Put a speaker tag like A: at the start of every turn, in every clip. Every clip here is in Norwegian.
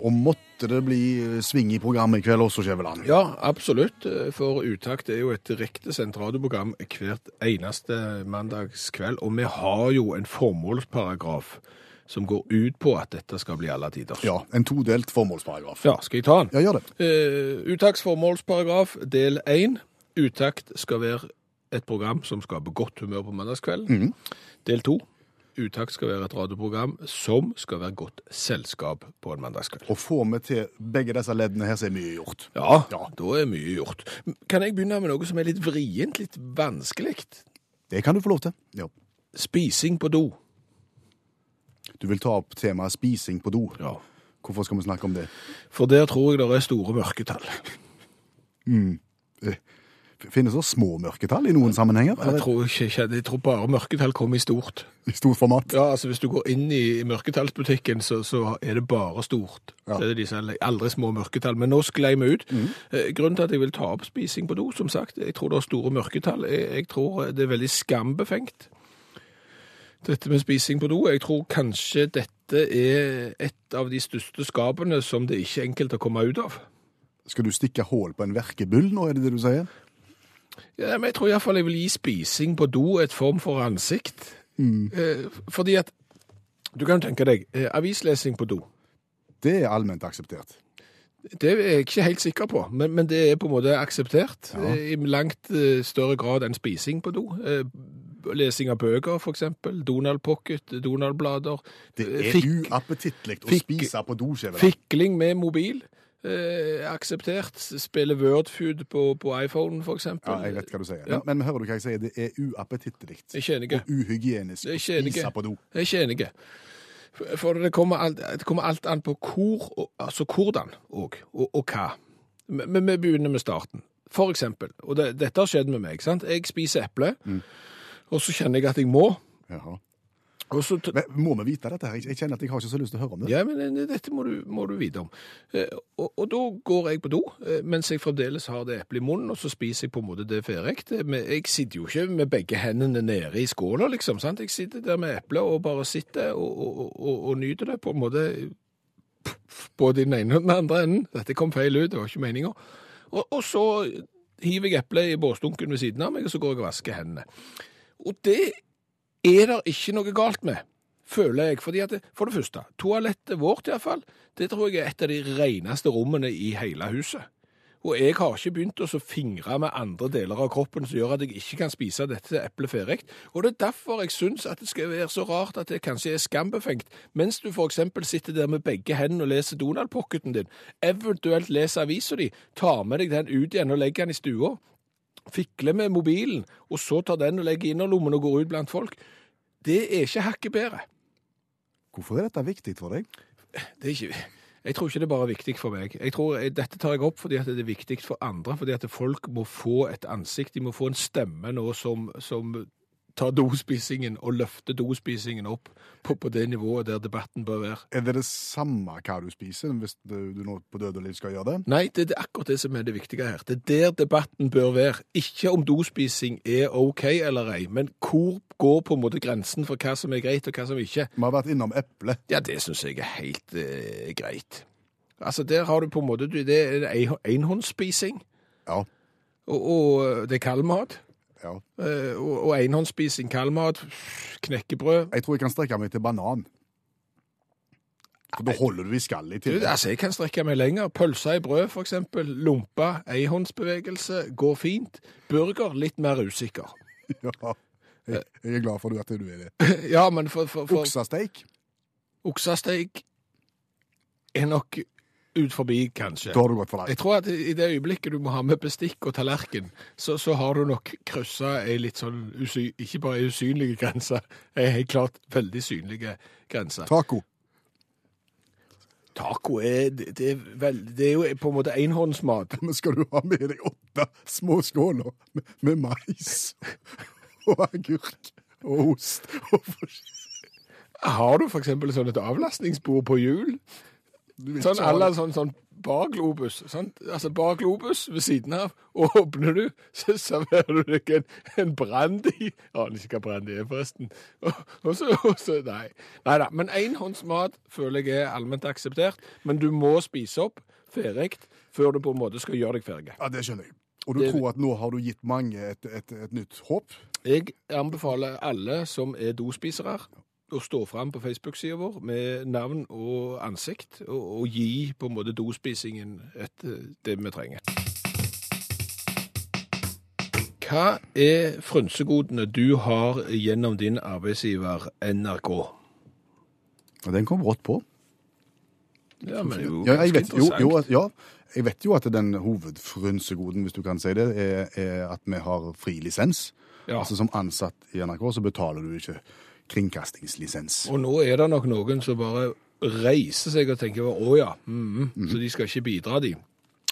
A: Og måtte det bli eh, sving i programmet i kveld også, Skjæveland.
B: Ja, absolutt. For Utakt er jo et direktesendt radioprogram hvert eneste mandagskveld. Og vi har jo en formålsparagraf som går ut på at dette skal bli alle tider.
A: Ja, en todelt formålsparagraf.
B: Ja, skal jeg ta den?
A: Ja, gjør det.
B: Eh, Utakts formålsparagraf del 1. Utakt skal være et program som skaper godt humør på mandagskvelden. Del 2. Utakt skal være et radioprogram som skal være godt selskap på en mandagskveld.
A: Å få med til begge disse leddene her, så er mye gjort.
B: Ja,
A: Ja.
B: da er mye gjort. Kan jeg begynne med noe som er litt vrient, litt vanskelig?
A: Det kan du få lov til. Ja.
B: Spising på do.
A: Du vil ta opp temaet spising på do.
B: Ja.
A: Hvorfor skal vi snakke om det?
B: For der tror jeg det er store mørketall.
A: F- Finnes det små mørketall i noen sammenhenger?
B: Jeg tror, ikke, jeg tror bare mørketall kommer i stort.
A: I stort format?
B: Ja, altså Hvis du går inn i mørketallsbutikken, så, så er det bare stort. Så er det de som selger aldri små mørketall. Men nå sklei vi ut. Eh, Grunnen til at jeg vil ta opp spising på do, som sagt, jeg tror det er store mørketall. Jeg, jeg tror eh, det er veldig skambefengt, dette med spising på do. Jeg tror kanskje dette er et av de største skapene som det ikke er enkelt å komme ut av.
A: Skal du stikke hål på en verkebyll nå, er det det du sier?
B: Ja, men jeg tror iallfall jeg vil gi spising på do et form for ansikt. Eh, Fordi at Du kan jo tenke deg eh, avislesing på do.
A: Det er allment akseptert.
B: Det er jeg ikke helt sikker på, men, men det er på en måte akseptert eh, i langt eh, større grad enn spising på do. Eh, Lesing av bøker, for eksempel. Donald Pocket, Donald-blader.
A: Det
B: eh,
A: er
B: fikk-
A: uappetittlig å
B: fikk-
A: spise på doskjeven.
B: Fikling med mobil. Eh, akseptert. Spille Wordfood på, på iPhone, for eksempel.
A: Ja, jeg vet hva du sier.
B: Ja.
A: Men, men hører du hva jeg sier? Det er uappetittelig
B: Jeg er ikke enig.
A: og uhygienisk
B: Jeg
A: å
B: er ikke enig.
A: spise på do.
B: Jeg er ikke enig. For- For det kommer alt, det kommer alt an på hvor, og, altså hvordan og, og, og hva. Men men vi begynner med starten. For eksempel, og det, dette har skjedd med meg, sant? jeg spiser eple,
A: Mm.
B: og så kjenner jeg at jeg må,
A: Jaha.
B: og så... t-
A: Men, må vi vite dette her? Jeg- Jeg kjenner at jeg har ikke så lyst til å høre om det.
B: Ja, men eh, dette må du, må du vite om. Eh, Og, og da går jeg på do, eh, mens jeg fremdeles har det eplet i munnen, og så spiser jeg på en måte det ferdig. Det- men Jeg sitter jo ikke med begge hendene nede i skåla, liksom. sant? Jeg sitter der med eplet og bare sitter og, og, og, og, og nyter det på en måte både i den ene og den andre enden. Dette kom feil ut, det var ikke meninga. Og, og så hiver jeg eplet i båsdunken ved siden av meg, og så går jeg og vasker hendene. Og det er det ikke noe galt med, føler jeg. fordi at det, For det første, toalettet vårt iallfall, det tror jeg er et av de reneste rommene i hele huset. Og jeg har ikke begynt å så fingre med andre deler av kroppen som gjør at jeg ikke kan spise dette eplet ferdig. Og det er derfor jeg syns at det skal være så rart at det kanskje er skambefengt, mens du for eksempel sitter der med begge hendene og leser Donald-pocketen din, eventuelt leser avisa di, tar med deg den ut igjen og legger den i stua fikler med mobilen, og så tar den og legger i innerlommen og går ut blant folk. Det er ikke hakket bedre.
A: Hvorfor er dette viktig for deg?
B: Det er ikke... Jeg tror ikke det er bare viktig for meg. Jeg tror, eh, Dette tar jeg opp fordi at det er viktig for andre, fordi at folk må få et ansikt, de må få en stemme nå som, som tar dospisingen og løfter dospisingen opp på, på det nivået der debatten bør være.
A: Er det det samme hva du spiser, hvis du, du nå på død og liv skal gjøre det?
B: Nei, det er akkurat det som er det viktige her. Det er der debatten bør være. Ikke om dospising er OK eller ei, men hvor går på en måte grensen for hva som er greit og hva som ikke.
A: Vi har vært innom eple.
B: Ja, det syns jeg er helt eh, greit. Altså, der har du på en måte du- Det er en- enhåndsspising,
A: Ja.
B: og, og eh, det er kaldmat.
A: ja.
B: eh, Og, og enhåndsspising, kaldmat, knekkebrød
A: Jeg tror jeg kan strekke meg til banan. For da holder du i skallet i
B: Du,
A: tillegg.
B: altså, jeg kan strekke meg lenger. Pølser i brød, for eksempel. Lompa, enhåndsbevegelse, går fint. Burger, litt mer usikker.
A: Ja. Jeg, jeg er glad for at du er det.
B: Ja, men for, for, for
A: Oksasteik?
B: oksasteik er nok ut forbi, kanskje.
A: Da har du gått for
B: Jeg
A: langt.
B: tror at i det øyeblikket du må ha med bestikk og tallerken, så, så har du nok kryssa ei litt sånn usy, ikke bare ei usynlig grense, ei helt klart veldig synlig grense.
A: Taco.
B: Taco er, det, det, er vel, det er jo på en måte enhåndsmat.
A: Men skal du ha med deg åtte små skåler med, med mais og agurk og ost og forskjell?
B: Har du f.eks. sånn et avlastningsbord på hjul?
A: Du vil
B: Sånn
A: ikke ha
B: alle
A: det.
B: sånn, sånn bar globus. Sant? Altså bar globus ved siden av, og åpner du, så serverer du deg en, en brandy. Aner ikke hva brandy er, forresten. Og, og, så, og så Nei. Neida, Men enhåndsmat føler jeg er allment akseptert. Men du må spise opp ferdig før du på en måte skal gjøre deg ferdig.
A: Ja, det skjønner jeg. Og du
B: Det-
A: tror at nå har du gitt mange et, et, et nytt håp?
B: Jeg anbefaler alle som er dospisere, å stå fram på Facebook-sida vår med navn og ansikt, og, og gi på en måte dospisingen et, eh, det vi trenger. Hva er frynsegodene du har gjennom din arbeidsgiver NRK?
A: Ja, den kom rått på.
B: Ja, men det er jo
A: Ja, jeg
B: ganske
A: vet, jo, jo,
B: interessant.
A: at- ja, jeg vet jo at den hovedfrynsegoden, hvis du kan si det, er, er at vi har fri lisens.
B: Ja.
A: Altså Som ansatt i NRK så betaler du ikke kringkastingslisens.
B: Og nå er det nok noen som bare reiser seg og tenker å ja, mhm, så de skal ikke bidra, de.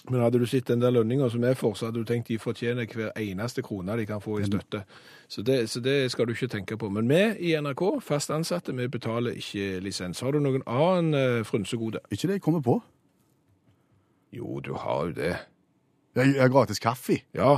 B: Men hadde du sett den der lønninga som er for, så hadde du tenkt de fortjener hver eneste krone de kan få i støtte. Så det, så det skal du ikke tenke på. Men vi i NRK, fast ansatte, vi betaler ikke lisens. Har du noen annen eh, frynsegode?
A: Ikke det jeg kommer på.
B: Jo, du har jo det.
A: Jeg, jeg har gratis kaffe.
B: Ja,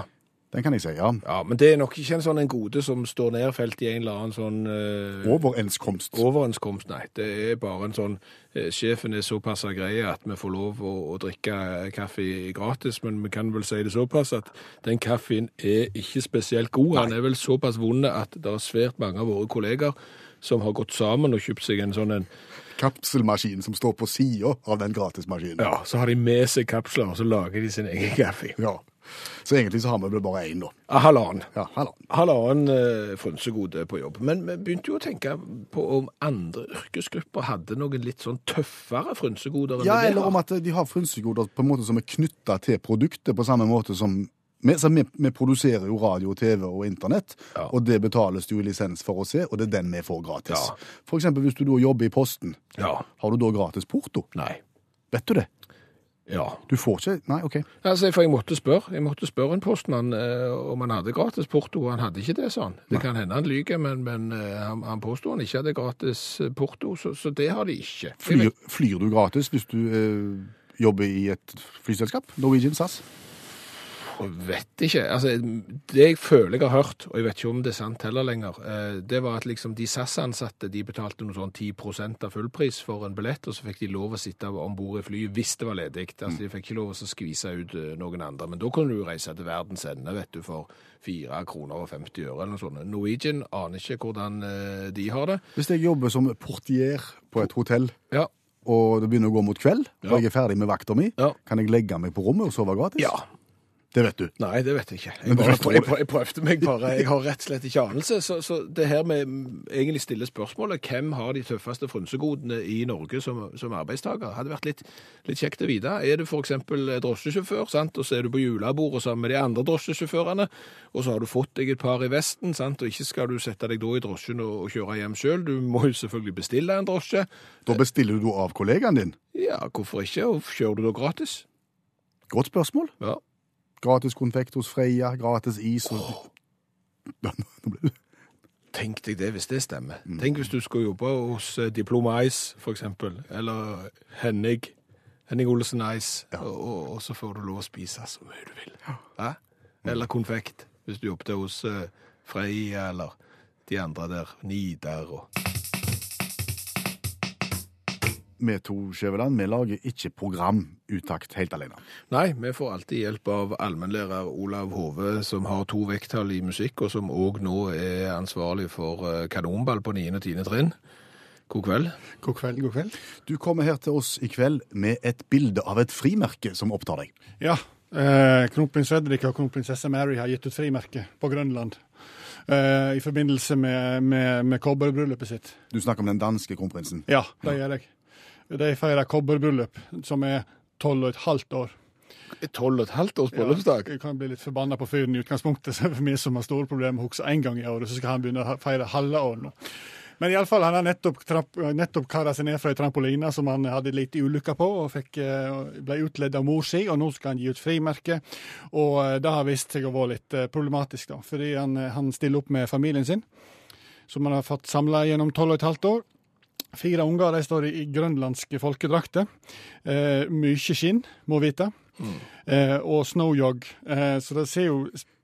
A: Den kan jeg si, ja.
B: ja, men det er nok ikke en sånn en gode som står nedfelt i en eller annen sånn eh,
A: Overenskomst.
B: Overenskomst, nei. Det er bare en sånn eh, Sjefen er såpass grei at vi får lov å, å drikke eh, kaffe gratis, men vi kan vel si det såpass at den kaffen er ikke spesielt god. Han er vel såpass vond at det er svært mange av våre kolleger som har gått sammen og kjøpt seg en sånn en
A: Kapselmaskinen som står på sida av den gratismaskinen.
B: Ja, så har de med seg kapsler, og så lager de sin egen kaffe.
A: Ja. Så egentlig så har vi vel bare én, da.
B: Ah, Halvannen.
A: Ja, hallo.
B: halvannen eh, frynsegode på jobb. Men vi begynte jo å tenke på om andre yrkesgrupper hadde noen litt sånn tøffere frynsegoder enn
A: Ja,
B: det vi
A: eller
B: har.
A: om at de har frynsegoder på en måte som er knytta til produktet, på samme måte som vi, så vi, vi produserer jo radio, TV og internett,
B: Ja.
A: og det betales det jo i lisens for å se, og det er den vi får gratis.
B: Ja.
A: For eksempel hvis du da jobber i Posten,
B: Ja.
A: har du da gratis porto?
B: Nei.
A: Vet du det?
B: Ja.
A: Du får ikke Nei, OK.
B: Altså, for jeg måtte spørre, jeg måtte spørre en postmann eh, om han hadde gratis porto, og han hadde ikke det, sa han. Det kan hende han lyver, men, men eh, han, han påsto han ikke hadde gratis eh, porto, så, så det har de ikke. Jeg
A: Flyr,
B: vet-
A: flyr du gratis hvis du eh, jobber i et flyselskap? Norwegian SAS?
B: Jeg vet ikke. Altså, det jeg føler jeg har hørt, og jeg vet ikke om det er sant heller lenger, eh, det var at liksom de SAS-ansatte de betalte noe sånn 10 av fullpris for en billett, og så fikk de lov å sitte om bord i flyet hvis det var ledig. Altså, de fikk ikke lov å så skvise ut eh, noen andre. Men da kunne du reise til verdens ende, vet du, for 4 kroner og 50 øre eller noe sånt. Norwegian aner ikke hvordan eh, de har det.
A: Hvis jeg jobber som portier på et hotell,
B: Ja,
A: og det begynner å gå mot kveld,
B: Ja.
A: og jeg er ferdig med vakta mi,
B: Ja.
A: kan jeg legge meg på rommet og sove gratis?
B: ja.
A: Det vet du.
B: Nei, det vet jeg ikke. Jeg,
A: Men du
B: bare,
A: forstår
B: jeg,
A: det.
B: prø- jeg prøvde meg bare. Jeg har rett og slett ikke anelse. Så, så det her med mm, egentlig stille spørsmålet hvem har de tøffeste frynsegodene i Norge som, som arbeidstaker, hadde vært litt, litt kjekt å vite. Er du f.eks. drosjesjåfør, sant? og så er du på julebordet sammen med de andre drosjesjåførene, og så har du fått deg et par i vesten, sant? og ikke skal du sette deg da i drosjen og, og kjøre hjem sjøl. Du må jo selvfølgelig bestille en drosje.
A: Da bestiller du da av kollegaen din.
B: Ja, hvorfor ikke? Og kjører du da gratis?
A: Godt spørsmål.
B: Ja.
A: Gratis konfekt hos Freia, gratis is og Ja, nå ble det-
B: Tenk deg det hvis det stemmer. Tenk hvis du skulle jobbe hos eh, Diploma Ice, for eksempel, eller Henning, Henning Olsen Ice, og, og, og så får du lov å spise så mye du vil. Hæ? Eller konfekt, hvis du jobbet hos eh, Freia, eller de andre der, Nidar og...
A: Vi to Skjæveland, vi lager ikke program utakt helt alene.
B: Nei, vi får alltid hjelp av allmennlærer Olav Hove, som har to vekttall i musikk, og som også nå er ansvarlig for eh, kanonball på 9. og 10. trinn. God kveld.
C: God kveld, god kveld.
A: Du kommer her til oss i kveld med et bilde av et frimerke som opptar deg.
C: Ja, eh, kronprins Fredrik og kronprinsesse Mary har gitt ut frimerke på Grønland eh, i forbindelse med, med, med kobberbryllupet sitt.
A: Du snakker om den danske kronprinsen.
C: Ja, det gjør jeg. De feirer kobberbryllup, som er tolv og et halvt år.
B: 12 og et halvt års bryllupsdag.
C: Jeg kan bli litt forbanna på fyren i utgangspunktet, så for meg som har store problemer med å huske én gang i året, så skal han begynne å ha- feire halve år nå. Men iallfall, han har nettopp, trapp- nettopp kara seg ned fra ei trampoline som han hadde litt ulykka på, og fikk, eh, ble utledd av mor si, og nå skal han gi ut frimerke. Og eh, det har vist seg å være litt eh, problematisk, da, fordi han, eh, han stiller opp med familien sin, som han har fått samla gjennom tolv og et halvt år. Fire unger de står i i grønlandske folkedrakter. Eh, mykje skinn, må vite. Eh, og snowjog. Eh, så det ser jo,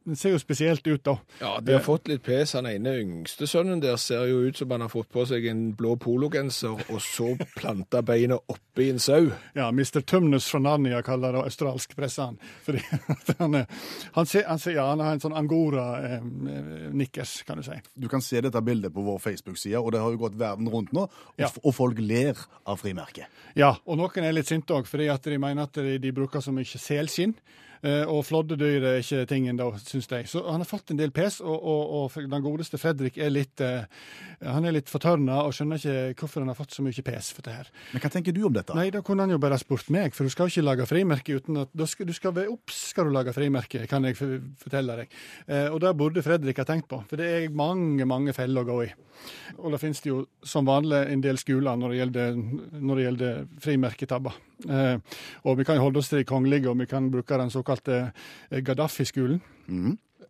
C: det ser jo spesielt ut, da.
B: Ja, de har fått litt pes. Han ene yngste sønnen der ser jo ut som han har fått på seg en blå pologenser, og så planta beina oppi en sau.
C: Ja, Mr. Tumnus fra Narnia kaller det australsk presse han. Fordi at han, er- han, ser, han, ser, ja, han har en sånn angora-nikkers, kan du si.
A: Du kan se dette bildet på vår Facebook-side, og det har jo gått verden rundt nå. Og,
C: Ja.
A: f- og folk ler av frimerket.
C: Ja, og noen er litt sinte òg, fordi at de mener at de, de bruker så mye selskinn. eh, Og flåddedyr er ikke tingen, da, syns de. Så han har fått en del pes, og, og, og den godeste Fredrik er litt eh, Han er litt fortørna og skjønner ikke hvorfor han har fått så mye pes for det her.
A: Men hva tenker du om dette?
C: Nei, da kunne han jo bare spurt meg, for du skal jo ikke lage frimerke uten at da skal, Du skal være obs skal du lage frimerke, kan jeg f- fortelle deg. Eh, og det burde Fredrik ha tenkt på, for det er mange, mange feller å gå i. Og da finnes det jo som vanlig en del skoler når det gjelder, når det gjelder frimerketabber. Eh, og vi kan jo holde oss til de kongelige, og vi kan bruke den såkalte eh, Gaddafi-skolen.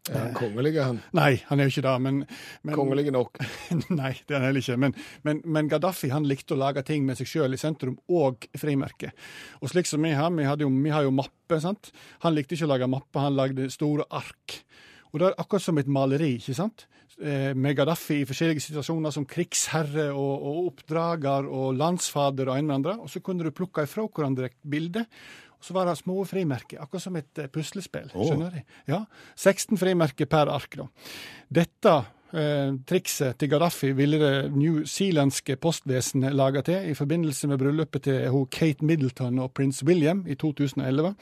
B: Er han kongelig, er han?
C: Nei, han er jo ikke det, men, men
B: Kongelig nok.
C: Nei, det er han heller ikke. Men, men, men Gaddafi han likte å lage ting med seg sjøl i sentrum, og frimerke. Og slik som vi har, vi, hadde jo, vi har jo mappe, sant. Han likte ikke å lage mappe, han lagde store ark. Og det er akkurat som et maleri, ikke sant. Eh, Med Gaddafi i forskjellige situasjoner som krigsherre og, og oppdrager og landsfader og en med andre. Og så kunne du plukke ifra hverandre bilder. Og så var det små frimerker, akkurat som et eh, puslespill. Skjønner du? Ja, 16 frimerker per ark, da. Dette eh, trikset til Gaddafi ville det newzealandske postvesenet lage til i forbindelse med bryllupet til hun Kate Middleton og prins William i 2011.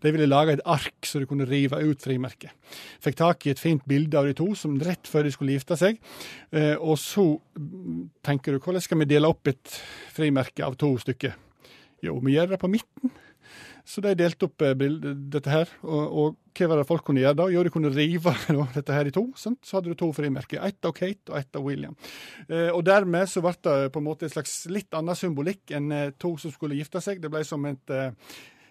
C: De ville lage et ark så de kunne rive ut frimerket. Fikk tak i et fint bilde av de to som rett før de skulle gifte seg. Eh, og så mm, tenker du, hvordan skal vi dele opp et frimerke av to stykker? Jo, vi gjør det på midten. Så de delte opp eh, bild- dette her, og, og hva var det folk kunne gjøre da? Jo, de kunne rive da, dette her i to, sant? så hadde du to frimerker. Ett av Kate og ett av William. Eh, og dermed så ble det på en måte en slags litt annen symbolikk enn eh, to som skulle gifte seg. Det ble som et eh,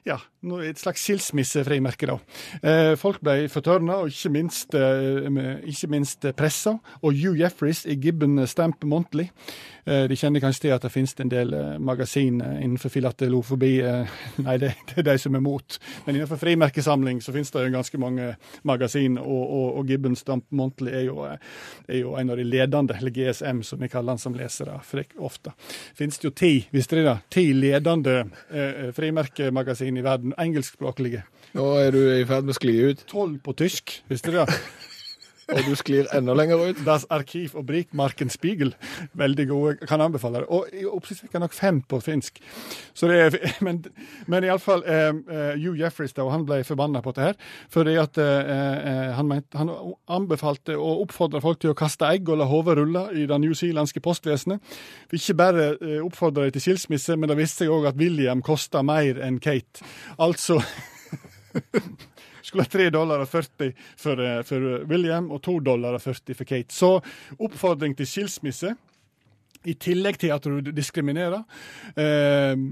C: ja, no- et slags skilsmissefrimerke, da. Eh, folk ble fortørna, og ikke minst, eh, med- ikke minst pressa. Og Hugh Jeffreys i Gibbon Stamp Monthly. Eh, de kjenner kanskje til at det finnes en del eh, magasin eh, innenfor filatelofobi. Eh, nei, det, det er de som er mot. Men innenfor frimerkesamling så finnes det jo ganske mange magasin, og, og, og Gibbon Stamp Monthly er jo, eh, er jo en av de ledende, eller GSM som vi kaller han som lesere frek- ofte. Finnes det jo ti, visste dere det? Ti ledende eh, frimerkemagasin i verden, engelskspråklige.
B: Nå er du i ferd med å skli ut,
C: Tolv på tysk, visste dere det?
B: og du sklir enda lenger ut.
C: Das Arkiv og Brikmarken Spiegel. Veldig gode, kan anbefale det. Og i oppsiktsvekkende nok fem på finsk. Så det er, men men iallfall eh, eh, Hugh Jeffreys da, han ble forbanna på dette her. Fordi at eh, eh, han, mente, han anbefalte og oppfordra folk til å kaste egg og la hodet rulle i det newzealandske postvesenet. For Ikke bare eh, oppfordra de til skilsmisse, men det viste seg òg at William kosta mer enn Kate. Altså skulle ha 3 dollar og 40 for, eh, for William og 2 dollar og 40 for Kate. Så oppfordring til skilsmisse, i tillegg til at du diskriminerer. Eh,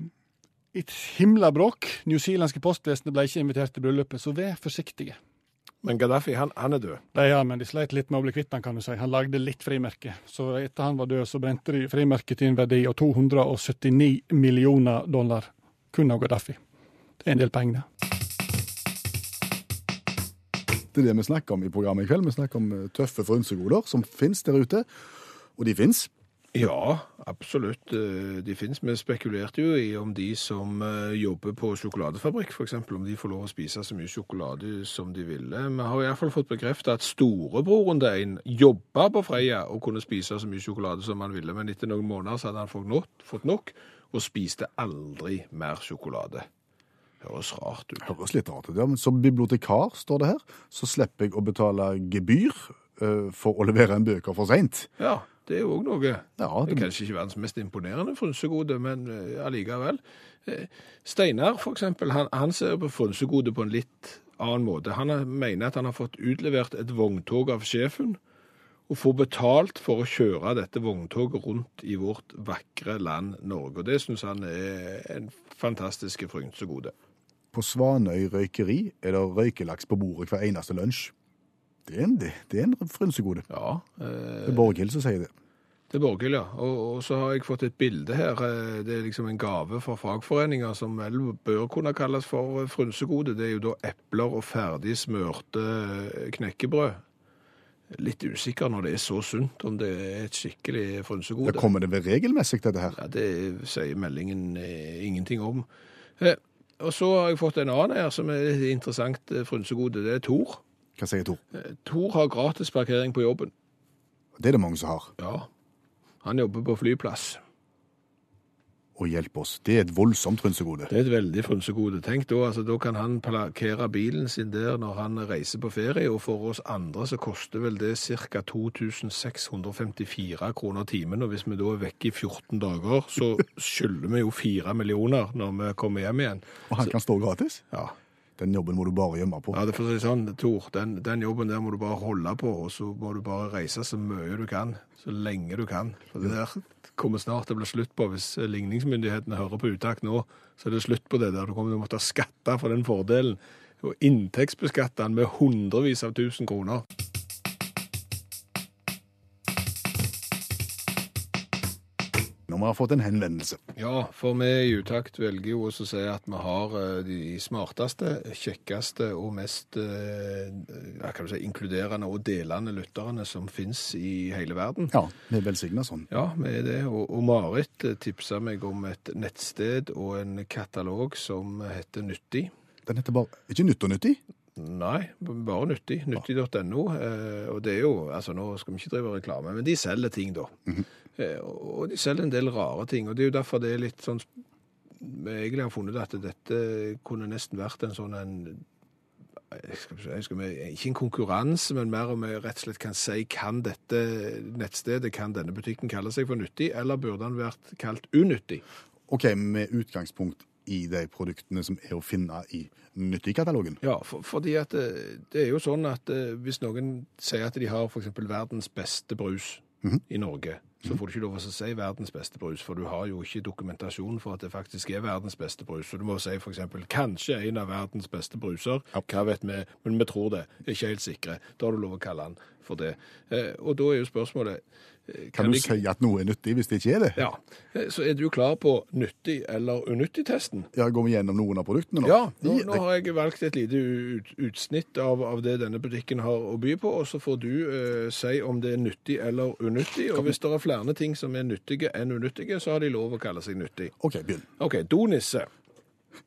C: et himla bråk. Newzealandske postvesenet ble ikke invitert til bryllupet, så vær forsiktige.
B: Men Gaddafi, han, han er død.
C: Nei, ja, men de sleit litt med å bli kvitt han, kan du si. Han lagde litt frimerke. Så etter han var død, så brente de frimerket til en verdi av 279 millioner dollar. Kun av Gaddafi. Det er en del penger, det.
A: Det er det vi snakker om i programmet i kveld. Vi snakker om eh, tøffe frynsegoder som finnes der ute. Og de finnes.
B: Ja, absolutt. eh, De finnes. Vi spekulerte jo i om de som eh, jobber på sjokoladefabrikk, f.eks., om de får lov å spise så mye sjokolade som de ville. Vi har iallfall fått bekreftet at storebroren til en jobba på Freia og kunne spise så mye sjokolade som han ville, men etter noen måneder så hadde han fått nok, fått nok og spiste aldri mer sjokolade. Høres rart ut.
A: Høres litt rart ut, ja. Men som bibliotekar, står det her, så slipper jeg å betale gebyr eh, for å levere en bøker for seint.
B: Ja, det er jo òg noe.
A: Ja,
B: det...
A: det-
B: er kanskje ikke verdens mest imponerende frynsegode, men eh, allikevel. Eh, Steinar, for eksempel, han, han ser på frynsegode på en litt annen måte. Han har- mener at han har fått utlevert et vogntog av sjefen, å få betalt for å kjøre dette vogntoget rundt i vårt vakre land Norge. Og det syns han er en fantastisk frynsegode.
A: På Svanøy røykeri er det røykelaks på bordet hver eneste lunsj. Det er en, det, det er en frynsegode.
B: Ja.
A: Det
B: Eh,
A: er Borghild som sier det.
B: det er Borghild, ja. Og, og så har jeg fått et bilde her. eh, Det er liksom en gave fra fagforeninger som vel bør kunne kalles for frynsegode. Det er jo da epler og ferdig smørte eh, knekkebrød. Litt usikker når det er så sunt, om det er et skikkelig
A: Ja,
B: frynsegode.
A: kommer det ved regelmessig, dette her?
B: Ja, det sier meldingen eh, ingenting om. Eh, og så har jeg fått en annen her som er litt interessant eh, frynsegode. Det er Tor.
A: Hva sier Tor?
B: Eh, Tor har gratis parkering på jobben.
A: Det er det mange som har.
B: Ja, han jobber på flyplass.
A: Å hjelpe oss. Det er et voldsomt frynsegode.
B: Det er et veldig frynsegode. Tenk da, altså da kan han parkere bilen sin der når han reiser på ferie, og for oss andre så koster vel det ca. 2654 kroner timen, og hvis vi da er vekke i 14 dager, så skylder vi jo 4 millioner når vi kommer hjem igjen.
A: Og han kan stå gratis?
B: Ja,
A: Den jobben må du bare gjemme på.
B: altså Ja, det får si sånn, Tor, den, den jobben der må du bare holde på, og så må du bare reise så mye du kan, så lenge du kan. For det der kommer snart til å bli slutt på. Hvis eh, ligningsmyndighetene hører på uttak nå, så er det slutt på det der. Du kommer til å måtte skatte for den fordelen, og inntektsbeskatte den med hundrevis av tusen kroner.
A: Når vi har fått en henvendelse.
B: Ja, for vi i Utakt velger jo også å si at vi har eh, de smarteste, kjekkeste og mest eh, hva kan du si, inkluderende og delende lytterne som finnes i hele verden.
A: Ja, vi er velsigna sånn.
B: Ja, vi er det. Og, og Marit tipsa meg om et nettsted og en katalog som heter Nyttig.
A: Den heter bare Ikke Nytt og nyttig?
B: Nei, bare Nyttig. Nyttig.no. Eh, og det er jo Altså, nå skal vi ikke drive reklame, men de selger ting, da. eh, og og de selger en del rare ting. Og det er jo derfor det er litt sånn vi egentlig har funnet at dette kunne nesten vært en sånn en jeg skal, ikke si- skal vi, Ikke en konkurranse, men mer om vi rett og slett kan si kan dette nettstedet, kan denne butikken kalle seg for nyttig, eller burde den vært kalt unyttig?
A: OK, med utgangspunkt i de produktene som er å finne i Nyttig-katalogen.
B: Ja, for, fordi at eh, det er jo sånn at eh, hvis noen sier at de har for eksempel verdens beste brus
A: Mhm.
B: i Norge, så får du ikke lov å si verdens beste brus, for du har jo ikke dokumentasjon for at det faktisk er verdens beste brus. Så du må si for eksempel kanskje en av verdens beste bruser, hva vet vi, men vi tror det, ikke helt sikre. Da har du lov å kalle den for det. Eh, Og da er jo spørsmålet eh,
A: Kan du
B: de-
A: si at noe er nyttig hvis det ikke er det?
B: Ja, eh, så er du klar på nyttig eller unyttig-testen?
A: Ja, Går vi gjennom noen av produktene nå?
B: Ja, nå, nå
A: det,
B: har jeg valgt et lite ut, utsnitt av, av det denne butikken har å by på, og så får du eh, si om det er nyttig eller unyttig. Og hvis det er flere ting som er nyttige enn unyttige, så har de lov å kalle seg nyttig.
A: OK, begynn.
B: OK, donisse.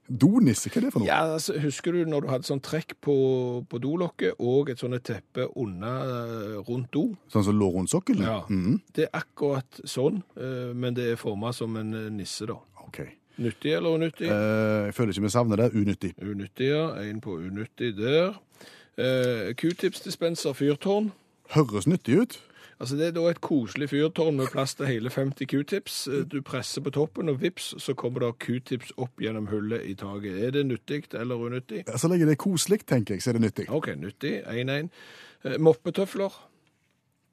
A: Donisse, hva er det for noe?
B: Ja, altså, Husker du når du hadde sånn trekk på, på dolokket og et sånt teppe under eh, rundt do?
A: Sånn som Mm, lå rundt sokkelen?
B: Ja. Det er akkurat sånn, eh, men det er forma som en eh, nisse, da.
A: OK.
B: Nyttig eller unyttig?
A: Eh, jeg føler ikke vi savner det. Unyttig.
B: Unyttig, ja. En på unyttig der. Eh, Q-tipsdispenser, fyrtårn.
A: Høres nyttig ut.
B: Altså Det er da et koselig fyrtårn med plass til hele 50 Q-tips. Eh, Du presser på toppen, og vips, så kommer da Q-tips opp gjennom hullet i taket. Er det nyttig eller unyttig?
A: Ja, Så lenge det er koselig, tenker jeg, så er det nyttig.
B: OK, nyttig. 1-1. Eh, Moppetøfler.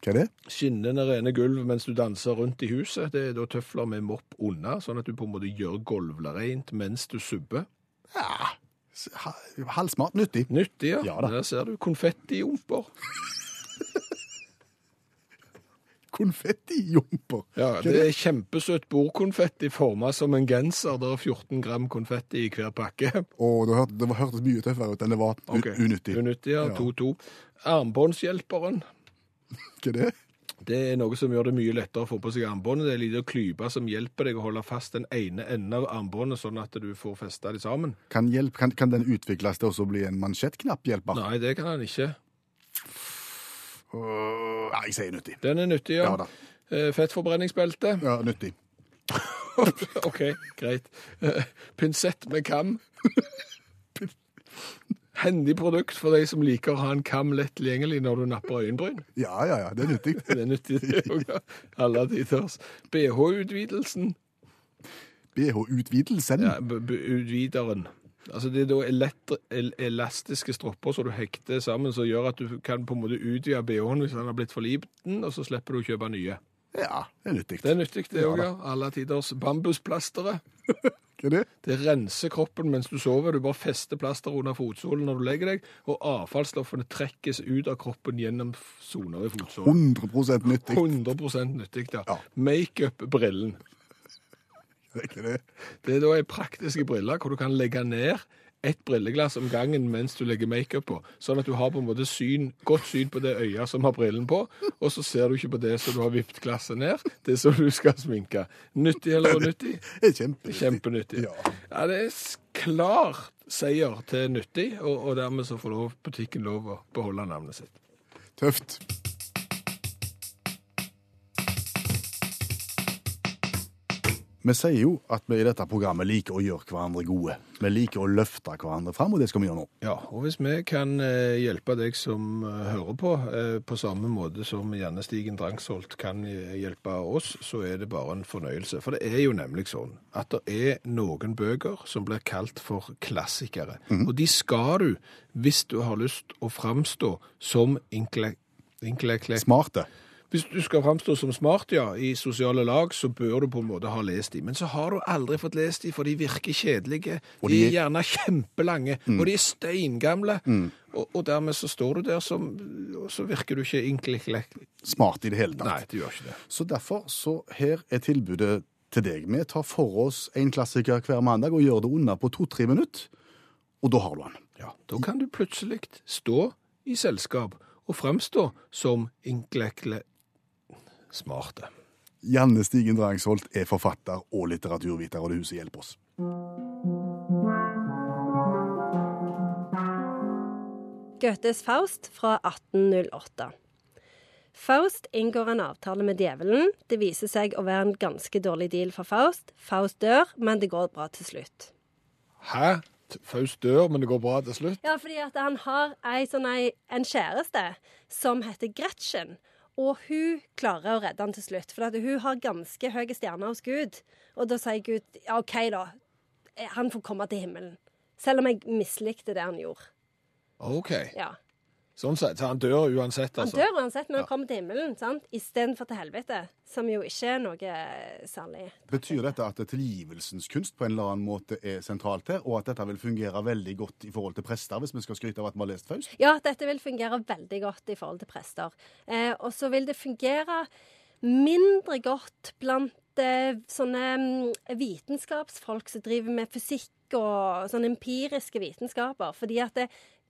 A: Hva er det?
B: Skinnende rene gulv mens du danser rundt i huset. Det er da tøfler med mopp unna, sånn at du på en måte gjør gulvet rent mens du subber.
A: Ja, Ah, s- ha- halvsmart nyttig.
B: Nyttig, ja.
A: Ja da.
B: Der ser du. Konfettiomper.
A: Konfettijomper.
B: Ja,
A: Hva er
B: det er kjempesøtt bordkonfetti formet som en genser. Det er 14 gram konfetti i hver pakke.
A: Og det, hørte, det var- hørtes mye tøffere ut enn det var u-
B: Ok.
A: unyttig.
B: Unyttig, ja.
A: Ja.
B: 2-2. Armbåndshjelperen.
A: Hva er det?
B: Det er noe som gjør det mye lettere å få på seg armbåndet. Det er en liten klype som hjelper deg å holde fast den ene enden av armbåndet, sånn at du får festa de sammen.
A: Kan, hjelp, kan, kan den utvikles til også å bli en mansjettknapphjelper?
B: Nei, det kan han ikke.
A: Øh, Nei, jeg sier nyttig.
B: Den er nyttig, ja.
A: Ja da.
B: Eh, Fettforbrenningsbelte.
A: Ja, nyttig.
B: OK, greit. Eh, Pinsett med kam. Hendig produkt for de som liker å ha en kam lett tilgjengelig når du napper øyenbryn.
A: Ja, ja, ja, det er nyttig.
B: Det er nyttig, det òg. Alle tiders. BH-utvidelsen.
A: BH-utvidelsen.
B: Ja, b- b- utvideren. Altså Det er da elektri- el elastiske stropper som du hekter sammen, som gjør at du kan på en måte utvide BH-en hvis den har blitt for liten, og så slipper du å kjøpe nye.
A: Ja, det er nyttig.
B: Det er nyttig, det òg, ja. Alle tiders bambusplastere.
A: Hva er det?
B: Det renser kroppen mens du sover. Du bare fester plaster under fotsålen når du legger deg, og avfallsstoffene trekkes ut av kroppen gjennom f- soner i fotsålen.
A: 100 nyttig.
B: 100 nyttig, ja.
A: Ja.
B: Makeup-brillen.
A: Er ikke det?
B: Det er da ei praktiske brille hvor du kan legge ned ett brilleglass om gangen mens du legger makeup på, sånn at du har på en måte syn, godt syn på det øyet som har brillen på, og så ser du ikke på det som du har vippet glasset ned, det som du skal sminke. Nyttig eller unyttig?
A: Det er kjempe.
B: Kjempenyttig.
A: Ja.
B: Ja, det er s- klar seier til nyttig, og, og dermed så får lov, butikken lov å beholde navnet sitt.
A: Tøft. Vi sier jo at vi i dette programmet liker å gjøre hverandre gode. Vi liker å løfte hverandre fram, og det skal vi gjøre nå.
B: Ja, og hvis vi kan eh, hjelpe deg som eh, hører på, eh, på samme måte som gjerne Stigen Drangsholt kan eh, hjelpe oss, så er det bare en fornøyelse. For det er jo nemlig sånn at det er noen bøker som blir kalt for klassikere. Og de skal du, hvis du har lyst å framstå som inkle... inkle
A: Smarte.
B: Hvis du skal framstå som smart, ja, i sosiale lag, så bør du på en måte ha lest de. Men så har du aldri fått lest de, for de virker kjedelige.
A: Og
B: de...
A: de-
B: er Mm. gjerne kjempelange, og de er steingamle. Og, og dermed så står du der som Og så virker du ikke inklikklekk.
A: Smarte i det hele tatt.
B: Nei, du gjør ikke det.
A: Så derfor, så her er tilbudet til deg. Vi tar for oss en klassiker hver mandag og gjør det unna på to-tre minutter. Og da har du den.
B: Ja, Da kan du plutselig stå i selskap og framstå som inklekle... smarte.
A: Janne Stigen Drangsholt er forfatter og litteraturviter, og det huset hjelper oss.
D: Goethes Faust fra 1808. Faust inngår en avtale med djevelen. Det viser seg å være en ganske dårlig deal for Faust. Faust dør, men det går bra til slutt.
B: Hæ? Faust dør, men det går bra til slutt?
D: Ja, fordi at han har ei, sånn ei, en kjæreste som heter Gretchen. Og hun klarer å redde han til slutt, for at hun har ganske høye stjerner hos Gud. Og da sier Gud ja, OK, da. Han får komme til himmelen. Selv om jeg mislikte det han gjorde.
B: OK.
D: Ja.
B: Sånn sett. Så han dør uansett,
D: Han
B: altså.
D: dør uansett når han kommer til himmelen, sant? istedenfor til helvete, som jo ikke er noe særlig.
A: Betyr dette at tilgivelsens kunst på en eller annen måte er sentralt her, og at dette vil fungere veldig godt i forhold til prester, hvis vi skal skryte av at vi har lest Faust?
D: Ja, dette vil fungere veldig godt i forhold til prester. Eh, og så vil det fungere mindre godt blant eh, sånne mm, vitenskapsfolk som driver med fysikk og sånne empiriske vitenskaper. Fordi at det,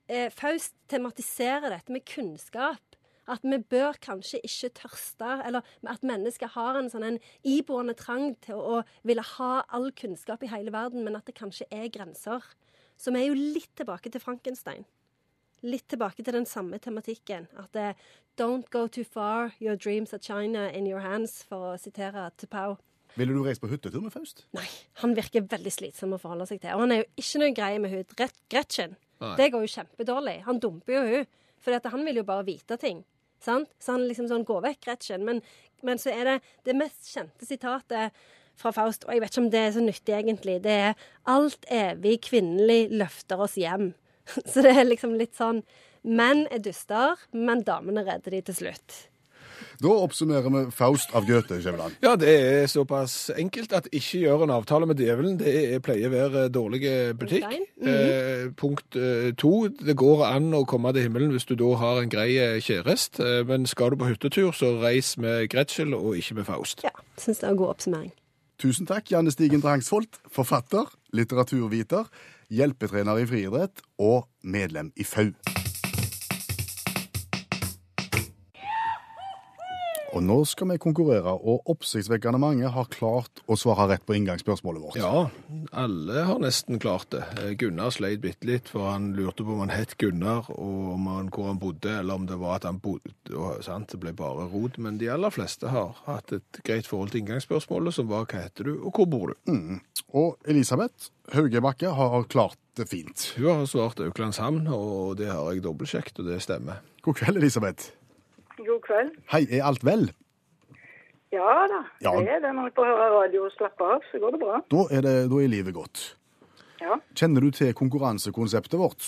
D: eh, Faust tematiserer dette med kunnskap. At vi bør kanskje ikke tørste, eller at mennesker har en sånn en iboende trang til å ville ha all kunnskap i hele verden, men at det kanskje er grenser. Så vi er jo litt tilbake til Frankenstein litt tilbake til den samme tematikken. At det, Don't go too far, your dreams are China in your hands, for å sitere Tupau.
A: Ville du reist på hyttetur med Faust?
D: Nei, han virker veldig slitsom å forholde seg til. Og han er jo ikke noe grei med hun Gret- Gretchen.
B: Nei.
D: Det går jo kjempedårlig. Han dumper jo hun. For at han vil jo bare vite ting. Sant? Så han liksom sånn Gå vekk, Gretchen. Men, men så er det det mest kjente sitatet fra Faust, og jeg vet ikke om det er så nyttig egentlig, det er 'Alt evig kvinnelig løfter oss hjem'. Så det er liksom litt sånn Menn er duster, men damene redder de til slutt.
A: Da oppsummerer vi Faust av Goethe, Skjæveland.
B: Ja, det er såpass enkelt at ikke gjør en avtale med djevelen. Det er, pleier å være dårlig butikk.
D: Dein.
B: eh, punkt eh, to, det går an å komme til himmelen hvis du da har en grei eh, kjæreste. Eh, men skal du på hyttetur, så reis med Gretschel og ikke med Faust.
D: Ja, Syns det er en god oppsummering.
A: Tusen takk, Janne Stigen Drangsvold, forfatter, litteraturviter, hjelpetrener i friidrett og medlem i FAU. Og nå skal vi konkurrere, og oppsiktsvekkende mange har klart å svare rett på inngangsspørsmålet vårt.
B: Ja, alle har nesten klart det. Eh, Gunnar sleit bitte litt, for han lurte på om han het Gunnar, og om han, hvor han bodde, eller om det var at han bodde og, sant, Det ble bare rot. Men de aller fleste har hatt et greit forhold til inngangsspørsmålet, som var hva heter du, og hvor bor du?
A: Og Elisabeth Hauge Bakke har klart det fint.
B: Hun har svart Auklandshamn, og det har jeg dobbeltsjekt, og det stemmer.
A: God kveld, Elisabeth.
E: God kveld.
A: Hei, er alt vel?
E: Ja da,
A: Ja.
E: det er det. Når jeg får høre radio og slappe av, så går det bra.
A: Da er, det, da er livet godt.
E: Ja.
A: Kjenner du til konkurransekonseptet vårt?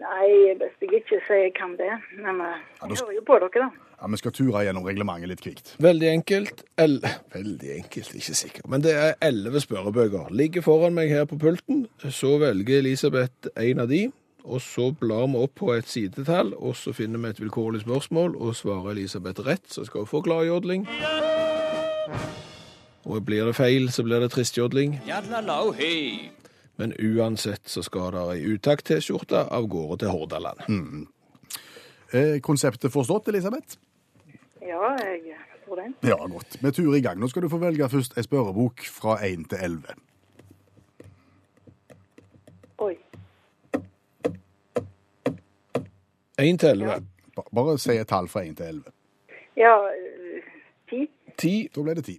E: Nei, best jeg ikke sier hvem det er. Men eh, jeg hører jo på dere, da.
A: Ja, Vi skal ture gjennom reglementet litt kvikt.
B: Veldig enkelt. El Veldig enkelt, ikke sikker. Men det er elleve spørrebøker. Ligger foran meg her på pulten. Så velger Elisabeth en av de. Og så blar vi opp på et sidetall, og så finner vi et vilkårlig spørsmål, og svarer Elisabeth rett, så skal hun få gladjodling. Og blir det feil, så blir det tristjodling. Men uansett så skal det ei utakt-T-skjorte av gårde til Hordaland. Mm.
A: Eh, konseptet forstått, Elisabeth?
E: Ja, jeg tror det.
A: Ja, godt. Vi turer i gang. Nå skal du få velge først ei spørrebok fra 1 til 11.
E: Oi.
B: Én til elleve.
A: Ba- Bare si et tall fra 1 til 11.
E: Ja, eh, ti.
B: Ti
A: Da ble det 10.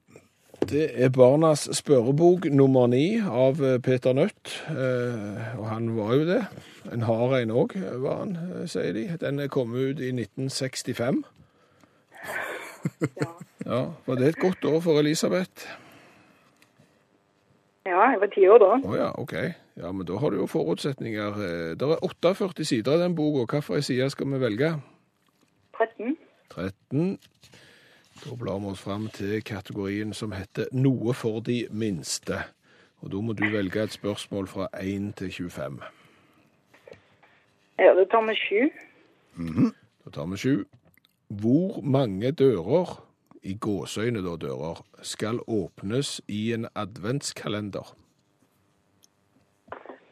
B: Det er Barnas spørrebok nummer ni av eh, Peter Nødt. Eh, og han var jo det. En hard en òg, var han, eh, sier de. Den er kommet ut i 1965.
E: Ja.
B: Ja, Var det et godt år for Elisabeth?
E: ja, jeg var ti år da.
B: Å ja, OK. Ja, Men da har du jo forutsetninger. Eh, Det er 48 sider i den boka. Hvilken side skal vi velge?
E: 13.
B: 13. Da blar vi oss fram til kategorien som heter Noe for de minste. Og da må du velge et spørsmål fra 1 til 25.
E: Ja, det tar vi sju.
B: Da tar vi 7. Hvor mange dører, i gåsøyne da dører, skal åpnes i en adventskalender?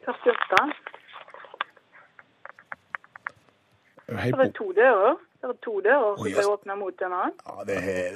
E: 48.
B: Hei,
E: Det var
B: bo-
E: to dører. Det var to dører som
B: Å,
E: ble
B: yes.
E: åpna mot en annen.
A: Ja, det er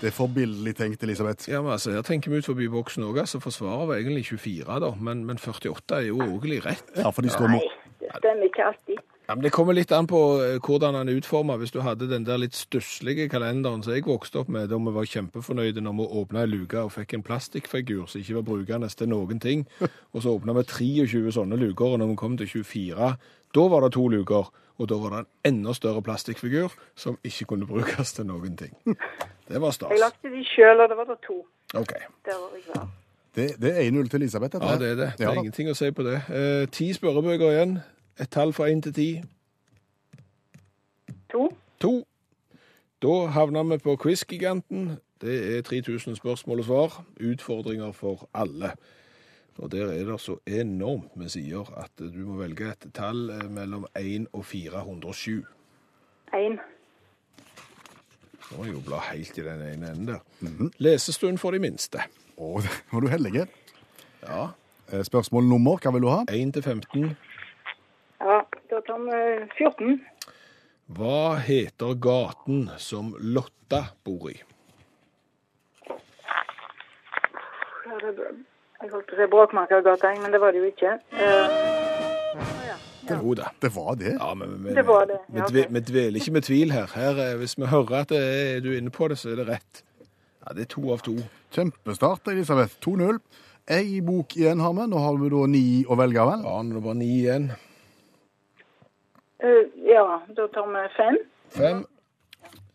A: Det er forbilledlig tenkt, Elisabeth.
B: ja, men altså, her tenker vi ut forbi boksen òg, altså. For svaret var egentlig 24, da. Men, men 48 er jo òg rett.
A: Ja, for de står nå.
E: Det stemmer ikke alltid.
B: Ja, men Det kommer litt an på eh, hvordan han er utforma. Hvis du hadde den der litt stusslige kalenderen som jeg vokste opp med, da vi var kjempefornøyde når vi åpna ei luke og fikk en plastikkfigur som ikke var brukende til noen ting, og så åpna vi 23 sånne luker, og når vi kom til 24, da var det to luker. Og da var det en enda større plastikkfigur som ikke kunne brukes til noen ting. Det var
E: Jeg
B: stas.
E: lagde de sjøl, og det var da to.
B: OK.
E: Der var jeg var.
A: Det, det er 1-0 til Elisabeth. dette
B: Ja,
A: her.
B: det er det. Det
A: Ja
B: er
A: da.
B: ingenting å si på det. Eh, ti spørrebøker igjen. Et tall fra én til ti.
E: To.
B: To. Da havner vi på quiz-giganten. Det er 3000 spørsmål og svar. Utfordringer for alle. Og der er det så enormt med sider at du må velge et tall eh, mellom 1 og 407.
E: Én.
B: Nå må jeg jo bla helt i den ene enden der. Lesestund for de minste.
A: Å, det var du heldig.
B: Ja.
A: Eh, Spørsmål nummer, hva vil du ha?
B: 1 til 15.
E: Ja, da tar vi 14.
B: Hva heter gaten som Lotta bor i?
E: Ja, det, jeg holdt på å si Bråkmakergata, jeg, men det var det jo ikke. Eh,
B: Jo da.
A: Det var det.
B: Ja, men, men,
E: Det var det,
B: Vi,
E: ja,
B: dve-
E: ok.
B: vi dveler ikke med tvil her. her. eh, Hvis vi hører at det er, du er inne på det, så er det rett. Ja, Det er to av to.
A: Kjempestart, Elisabeth. 2-0. Ei bok igjen har vi. Nå har vi da ni å velge vel.
B: Ja, nå er det bare ni igjen.
E: eh, ja, da tar vi 5.
B: Fem.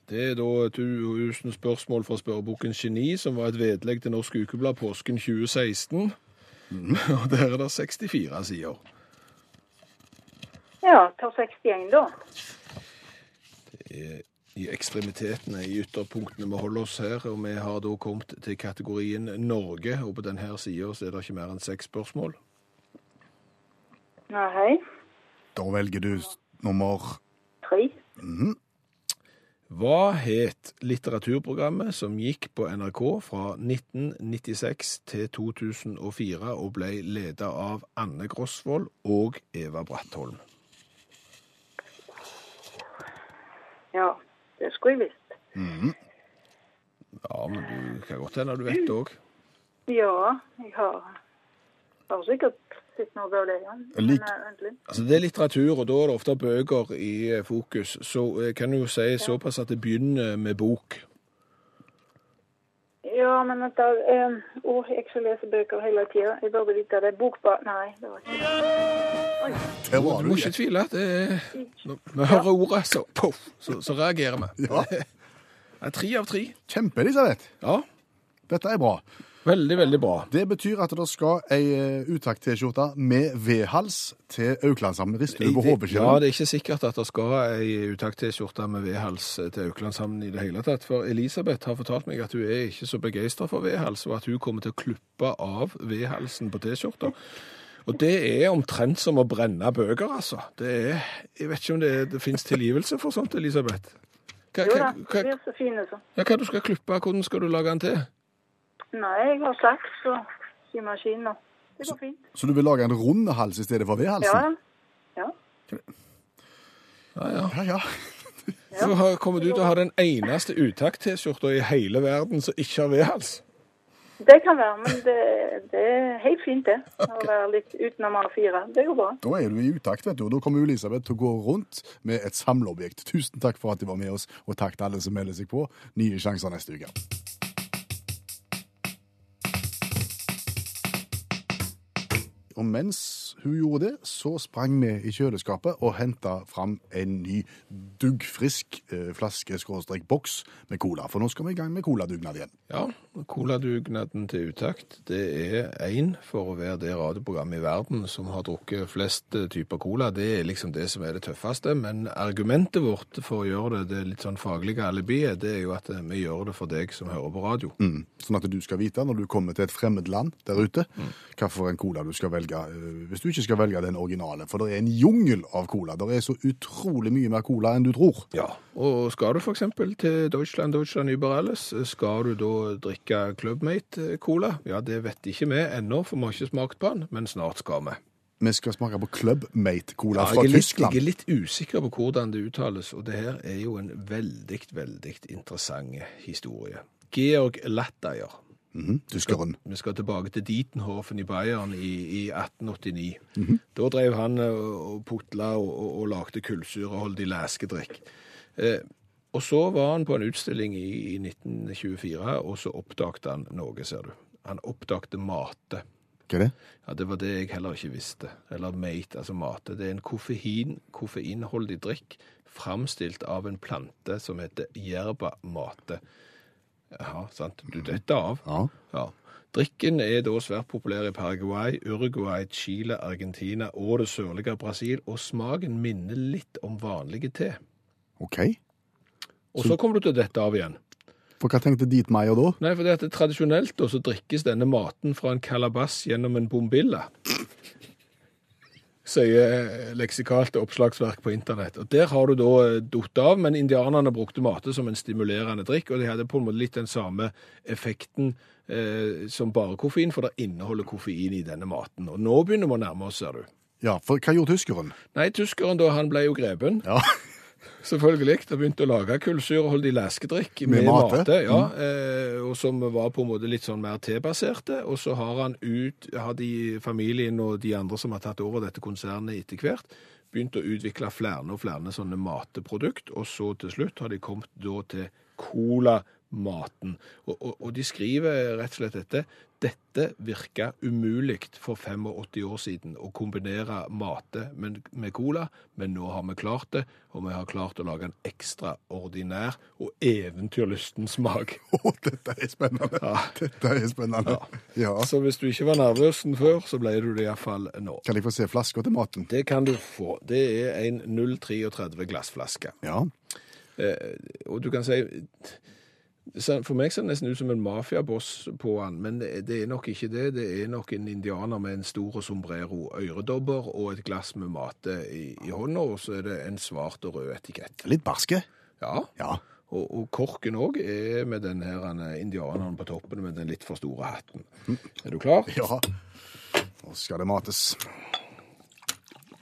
B: Det er da 1000 spørsmål fra spørreboken Geni, som var et vedlegg til Norsk Ukeblad påsken 2016. Og der er det 64 sider.
E: Ja, tar 61 da.
B: I ekstremitetene, i ytterpunktene vi holder oss her, og vi har da kommet til kategorien Norge, og på denne sida så er det ikke mer enn seks spørsmål.
E: Nei, hei.
A: Da velger du s- nummer
E: 3.
B: Hva het litteraturprogrammet som gikk på NRK fra 1996 til 2004 og ble leda av Anne Grosvold og Eva Brattholm?
E: Ja, det skulle jeg visst.
B: Ja, men du kan godt hende du vet det òg.
E: Ja, jeg har, har sikkert sett noe av det, ja. Men,
A: Lik-
E: eh, vent litt.
B: Altså, det er litteratur, og da er det ofte bøker i eh, fokus. Så eh, kan du jo si såpass at det begynner med bok.
E: Ja, men vent da. eh, Å, jeg skal lese bøker hele tida. Jeg burde vite det. Bokba... Nei, det var ikke det.
A: Der
B: Du
A: var du.
B: må ikke tvile. Det er... Når vi hører ordet, så, poff, så, så reagerer vi.
A: Ja.
B: Det er Tre av tre.
A: Kjempe, Elisabeth.
B: Ja.
A: Dette er bra.
B: Veldig, veldig bra.
A: Det betyr at det skal ei utakt-T-skjorte med V-hals til Auklandshamn. Rister du på
B: Ja,
A: hodeskjellen?
B: det er ikke sikkert at det skal ei utakt-T-skjorte med V-hals eh, til Auklandshamn i det hele tatt. For Elisabeth har fortalt meg at hun er ikke så begeistra for V-hals, og at hun kommer til å klippe av V-halsen på T-skjorta. Og det er omtrent som å brenne bøker, altså. Det er, jeg vet ikke om det, er- det fins tilgivelse for sånt, Elisabeth? Hva,
E: Jo
B: hva,
E: da,
B: hva,
E: blir så fine, så.
B: ja, hva du skal klippe, hvordan skal du lage den til?
E: Nei, jeg har saks og i maskinen. Det går fint.
A: Så du vil lage en rund hals i stedet for
E: Ja,
A: V-halsen?
E: ja.
A: Ja, ja.
B: Så har- kommer du til å ha den eneste utakt-T-skjorta i hele verden som ikke har V-hals?
E: Det kan være, men det, det er helt fint, det. Å være litt utenom A4. Det går bra.
A: Da er du i utakt, vet du. Og da kommer Elisabeth til å gå rundt med et samleobjekt. Tusen takk for at du var med oss, og takk til alle som melder seg på. Nye sjanser neste uke. Og mens hun gjorde det, så sprang vi i kjøleskapet og henta fram en ny duggfrisk eh, flaske-boks med cola. For nå skal vi i gang med coladugnad igjen.
B: Ja, coladugnaden til utakt, det er én for å være det radioprogrammet i verden som har drukket flest eh, typer cola. Det er liksom det som er det tøffeste. Men argumentet vårt for å gjøre det, det litt sånn faglige alibiet, det er jo at eh, vi gjør det for deg som hører på radio.
A: Mm. Sånn at du skal vite når du kommer til et fremmed land der ute,
B: Mm.
A: hvilken cola du skal velge. eh, Hvis du ikke skal velge den originale, for det er en jungel av cola. Det er så utrolig mye mer cola enn du tror.
B: Ja, og skal du for eksempel til Deutschland, Deutschland über alles, skal du da drikke Clubmate-cola? Ja, det vet ikke vi ennå, for vi har ikke smakt på den, men snart skal vi.
A: Vi skal smake på Club Mate Cola
B: Ja,
A: fra
B: jeg er litt,
A: Tyskland.
B: Jeg er litt usikker på hvordan det uttales, og det her er jo en veldig, veldig interessant historie. Georg Lattayer.
A: Mhm, Tyskeren.
B: Vi skal tilbake til Dietenhofen i Bayern i, i 1889.
A: Mhm.
B: Da drev han eh, og putla og, og, og lagde kullsyreholdig leskedrikk. Eh, og så var han på en utstilling i, i 1924, og så oppdagte han noe, ser du. Han oppdagte mate.
A: Hva er det?
B: Ja, Det var det jeg heller ikke visste. Eller mate, altså mate. Det er en koffein, koffeinholdig drikk framstilt av en plante som heter jerba mate. Ja, sant. Du detter av.
A: Ja.
B: Ja. Drikken er da svært populær i Paraguay, Uruguay, Chile, Argentina og det sørlige Brasil, og smaken minner litt om vanlige te.
A: OK.
B: Og så kommer du til dette av igjen.
A: For hva tenkte Dietmeier da?
B: Nei, for det at det tradisjonelt da, så drikkes denne maten fra en kalabass gjennom en bombilla. Sier eh, leksikalt oppslagsverk på internett. Og Der har du da eh, datt av, men indianerne brukte mate som en stimulerende drikk, og de hadde på en måte litt den samme effekten eh, som bare koffein, for det inneholder koffein i denne maten. Og nå begynner vi å nærme oss, ser du.
A: Ja, for hva gjorde tyskeren?
B: Nei, tyskeren da, han ble jo grepen.
A: Ja.
B: Selvfølgelig. Og begynte å lage kullsyreholdig leskedrikk
A: Med
B: med,
A: mate.
B: mate. ja, eh, og Som var på en måte litt sånn mer tebaserte. Og så har han ut, har de familien og de andre som har tatt over dette konsernet etter hvert, begynt å utvikle flere og flere sånne mateprodukt. Og så til slutt har de kommet da til colamaten. Og, og, og de skriver rett og slett dette. Dette virka umulig for 85 år siden å kombinere mate med, med cola, men nå har vi klart det, og vi har klart å lage en ekstraordinær og eventyrlysten smak.
A: Å, dette er spennende! Dette er spennende. Ja.
B: Så Altså, hvis du ikke var nervøsen før, så ble du det iallfall nå.
A: Kan jeg få se flaska til maten?
B: Det kan du få. Det er en 033 glassflaske.
A: Ja.
B: og du kan si det ser- For meg ser det nesten ut som en mafiaboss på han, men det det er nok ikke det. Det er nok en indianer med en stor sombrero, øredobber og et glass med mate i, i hånda, og så er det en svart og rød etikett.
A: Litt barske.
B: Ja,
A: Ja.
B: og, og korken òg er med den her han, indianeren på toppen med den litt for store hatten. Er du klar?
A: Ja. Nå skal det mates.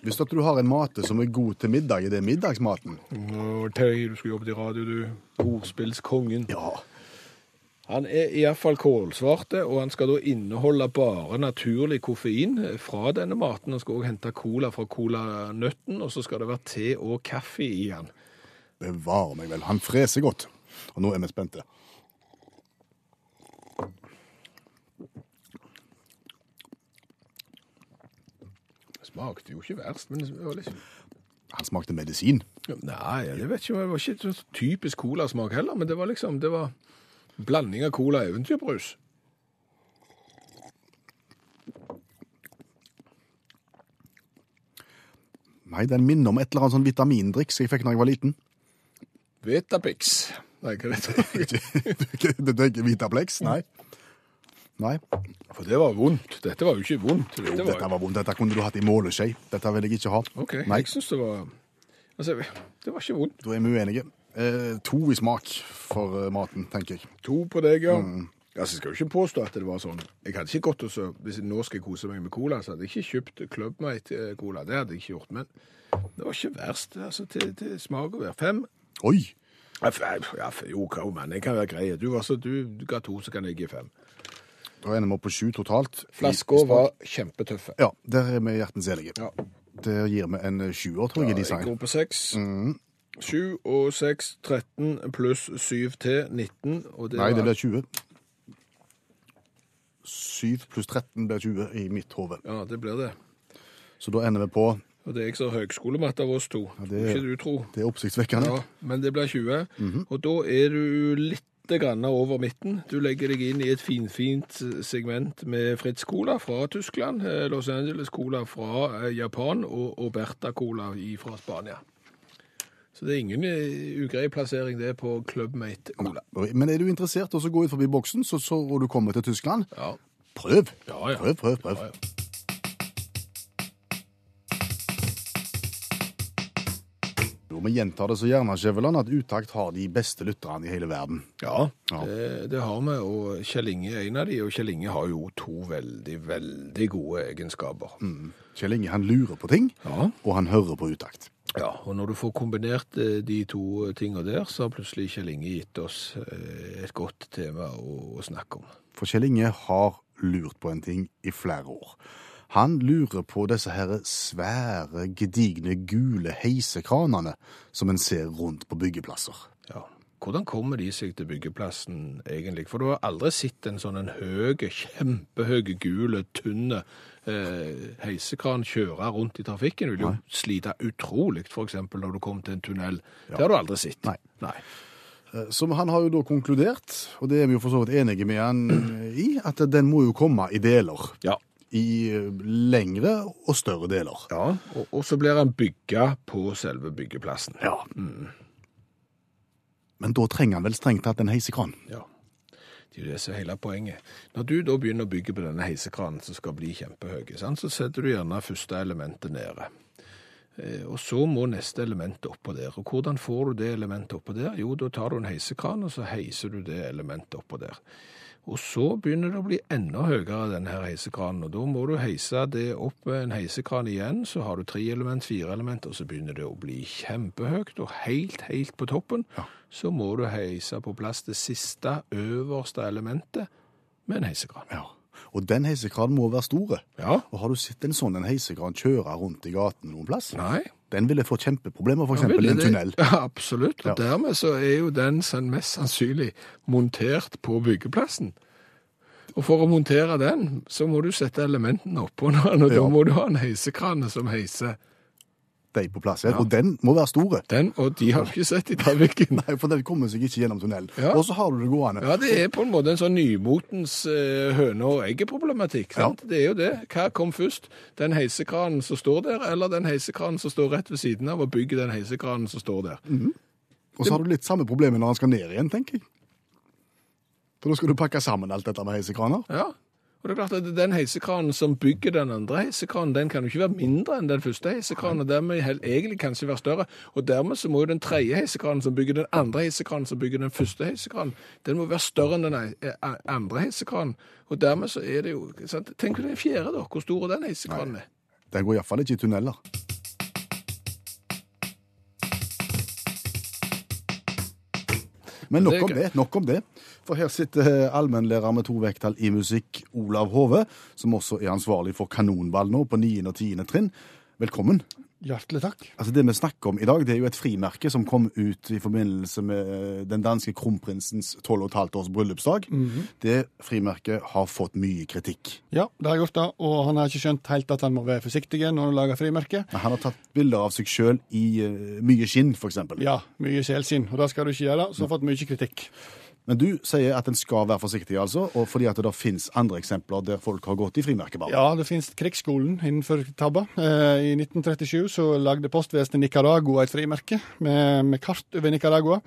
A: Hvis at du har en mate som er god til middag, er det middagsmaten?
B: Å, Terje, du skulle jobbet i radio, du. Ordspillskongen.
A: Ja.
B: Han er iallfall kålsvarte, og han skal da inneholde bare naturlig koffein fra denne maten. Han skal òg hente cola fra colanøtten, og så skal det være te og kaffe i han.
A: Bevare meg vel. Han freser godt. Og nå er vi spente.
B: Smakte jo ikke verst, men det var litt
A: Han smakte medisin.
B: Nei, jeg vet ikke, det var ikke sånn typisk colasmak heller, men det var liksom det var blanding av cola og eventyrbrus.
A: Nei, den minner om et eller annet sånn vitamindrikk som jeg fikk da jeg var liten.
B: Vetapix. Nei, hva er det?
A: det er ikke Vitaplex, nei. Nei,
B: For det var vondt. Dette var jo ikke vondt.
A: jo,
B: Dette var...
A: dette var vondt. Dette kunne du hatt i måleskje. Dette vil jeg ikke ha.
B: OK.
A: Nei,
B: Jeg syns det var Altså, det var ikke vondt.
A: da er vi uenige. Eh, to i smak for eh, maten, tenker jeg.
B: To på deg, ja.
A: Mm.
B: Altså, jeg skal jo ikke påstå at det var sånn. Jeg hadde ikke gått og så Hvis jeg nå skal kose meg med cola, så hadde jeg ikke kjøpt Clubmate-cola. Det hadde jeg ikke gjort. Men det var ikke verst. Altså, til, til smak å være fem.
A: Oi!
B: Ja, f- Ja, f- jo, hva, men jeg kan være grei. Du, altså, du, du ga to, så kan jeg gi fem.
A: Da ender vi opp på sju totalt. i- i
B: Flasker
A: smak.
B: var kjempetøffe.
A: Ja, der er vi hjertens enige.
B: Ja.
A: Der gir vi en eh, sjuer, tror jeg, i
B: Jeg går
A: design. Mm.
B: på seks. Sju og seks, 13 pluss syv til, 19. Og det
A: Nei, det blir
B: var-
A: 20. 7 pluss 13 blir 20 i mitt hode.
B: Ja, det blir det.
A: Så da ender vi på
B: Og det er ikke så høyskolematt av oss to.
A: det-
B: Ikke du tro.
A: Det er oppsiktsvekkende.
B: Ja, men det blir 20.
A: Mhm.
B: Og da er du litt grann over midten. Du legger deg inn i et finfint eh, segment med Fritz Cola fra Tyskland, eh, Los Angeles Cola fra eh, Japan og, og Berta Cola i, fra Spania. Så det er ingen eh, ugrei plassering det på Clubmate Cola.
A: Men er du interessert i å gå ut forbi boksen, så, så, og du kommer til Tyskland,
B: Ja.
A: prøv!
B: Ja, ja.
A: Prøv, prøv, prøv.
B: Ja,
A: Jo, Vi gjentar det så gjerne, Skjæveland, at Utakt har de beste lytterne i hele verden.
B: Ja,
A: Ja.
B: Det, det har vi, og Kjell Inge er en av de, og Kjell Inge har jo to veldig, veldig gode egenskaper.
A: Mm. Kjell Inge han lurer på ting,
B: Ja.
A: og han hører på Utakt.
B: Ja, og når du får kombinert eh, de to tingene der, så har plutselig Kjell Inge gitt oss eh, et godt tema å, å snakke om.
A: For Kjell Inge har lurt på en ting i flere år. Han lurer på disse her svære, gedigne, gule heisekranene som en ser rundt på byggeplasser.
B: Ja. Hvordan kommer de seg til byggeplassen egentlig? For du har aldri sett en sånn en høge, kjempehøge, gule, tynne eh, heisekran kjøre rundt i trafikken. Du vil jo slite utrolig, for eksempel, når du kommer til en tunnel. Det har du aldri sett.
A: Nei.
B: Nei.
A: Eh, Så han har jo da konkludert, og det er vi jo for så vidt enige med han eh, i, at den må jo komme i deler.
B: Ja.
A: I eh, lengre og større deler.
B: Ja, og, og så blir han bygga på selve byggeplassen.
A: Ja. Men da trenger han vel strengt tatt en heisekran.
B: Ja. Det er jo det som er hele poenget. Når du da begynner å bygge på denne heisekranen som skal bli kjempehøy, sant, så setter du gjerne første elementet nede. Eh, Og så må neste element oppå der. Og hvordan får du det elementet oppå der? Jo, da tar du en heisekran, og så heiser du det elementet oppå der. Og så begynner det å bli enda høyere, denne her heisekranen, og da må du heise det opp med en heisekran igjen, så har du tre element, fire element, og så begynner det å bli kjempehøyt, og helt, helt på toppen, så må du heise på plass det siste, øverste elementet med en heisekran.
A: Ja. Og den heisekranen må være store.
B: Ja.
A: Og har du sett en sånn en heisekran kjøre rundt i gaten noen plass?
B: Nei.
A: Den ville fått kjempeproblemer, for eksempel i
B: Ville
A: en
B: det-
A: tunnel.
B: Ja, absolutt. Og
A: Ja.
B: dermed så er jo den san- mest sannsynlig montert på byggeplassen. Og for å montere den, så må du sette elementene oppå den, og da
A: Ja.
B: må du ha en heisekrane som heiser
A: De på plass her. Og den må være store.
B: den, og de har vi ikke sett i trafikken.
A: Nei, for den kommer seg ikke gjennom tunnelen.
B: Ja.
A: Og så har du det gående.
B: Ja, det er på en måte en sånn nymotens eh, høne- og eggeproblematikk, sant? Det er jo det. Hva kom først? Den heisekranen som står der, eller den heisekranen som står rett ved siden av, og bygger den heisekranen som står der?
A: Og så har du litt samme problemet når han skal ned igjen, tenker jeg. For da skal du pakke sammen alt dette med heisekraner.
B: Ja. Og det er klart at Den heisekranen som bygger den andre heisekranen, den kan jo ikke være mindre enn den første heisekranen, og dermed hel- egentlig kanskje være større. Og dermed så må jo den tredje heisekranen som bygger den andre heisekranen, som bygger den første heisekranen, den må være større enn den ei- eh, a- andre heisekranen. Og dermed så er det jo sant? Tenk på den fjerde, da. Hvor stor er den heisekranen? er?
A: Den går iallfall ikke i tunneler. Men
B: Det
A: nok
B: er
A: om
B: gøy.
A: det. nok om det. For her sitter eh, allmennlærer med to vekttall i musikk, Olav Hove, som også er ansvarlig for kanonball nå på 9. og 10. trinn. Velkommen.
C: Hjertelig takk.
A: Altså Det vi snakker om i dag, det er jo et frimerke som kom ut i forbindelse med eh, den danske kronprinsens 12,5 års bryllupsdag.
B: Mhm.
A: Det frimerket har fått mye kritikk.
C: Ja, det har jeg gjort, da. Og han har ikke skjønt helt at han må være forsiktig når han lager frimerke.
A: Men Han har tatt bilder av seg sjøl i eh, mye skinn, f.eks.
C: Ja, mye selskinn, og det skal du ikke gjøre, så har jeg fått mye kritikk.
A: Men du sier at en skal være forsiktig, altså, og fordi at det da finnes andre eksempler der folk har gått i frimerkebar.
C: Ja, det finnes krigsskolen innenfor tabba. Eh, I 1937 så lagde postvesenet Nicaragua et frimerke med, med kart over Nicaragua.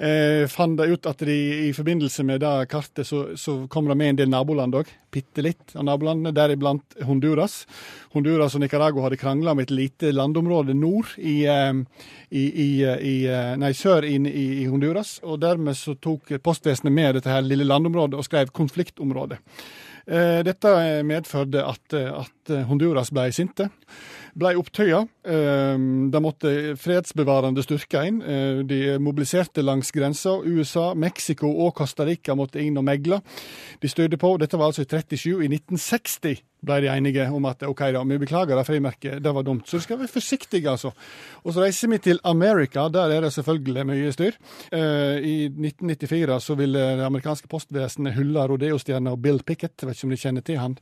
C: Eh, fant de ut at de, i forbindelse med det kartet så, så kom det med en del naboland òg. Bitte litt av nabolandene, deriblant Honduras. Honduras og Nicaragua hadde krangla om et lite landområde nord i, eh, i, i, i eh, Nei, sør inn i, i Honduras. Og dermed så tok postvesenet med dette her lille landområdet og skrev 'konfliktområde'. Eh, Dette medførte at, eh, at Honduras ble sinte. Ble opptøyer. Eh, Det måtte fredsbevarende styrker inn. Eh, De mobiliserte langs grensa. USA, Mexico og Costa Rica måtte inn og megle. De styrte på. Dette var altså i 37. I 1960 ble de enige om at OK, da, vi beklager det frimerket, det var dumt. Så du skal være forsiktig, altså. Og så reiser vi til Amerika, der er det selvfølgelig mye styr. Eh, I 1994 så ville det amerikanske postvesenet hylle rodeostjerna Bill Pickett, vet ikke om de kjenner til han.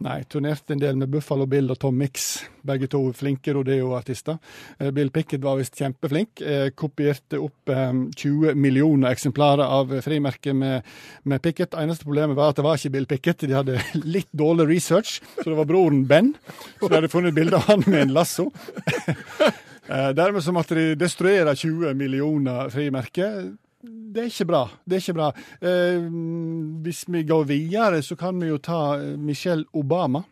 C: Nei. turnerte en del med Buffalo Bill og Tom Mix, begge to flinke rodeoartister. Eh, Bill Pickett var visst kjempeflink, eh, kopierte opp eh, 20 millioner eksemplarer av frimerket med, med Pickett. Eneste problemet var at det var ikke Bill Pickett, de hadde litt dårlig research, så det var broren Ben. Så de hadde funnet bilde av han med en lasso. Eh, Dermed så måtte de destruere 20 millioner frimerker. Det er ikke bra. Det er ikke bra. Eh, hvis vi går videre, så kan vi jo ta eh, Michelle Obama.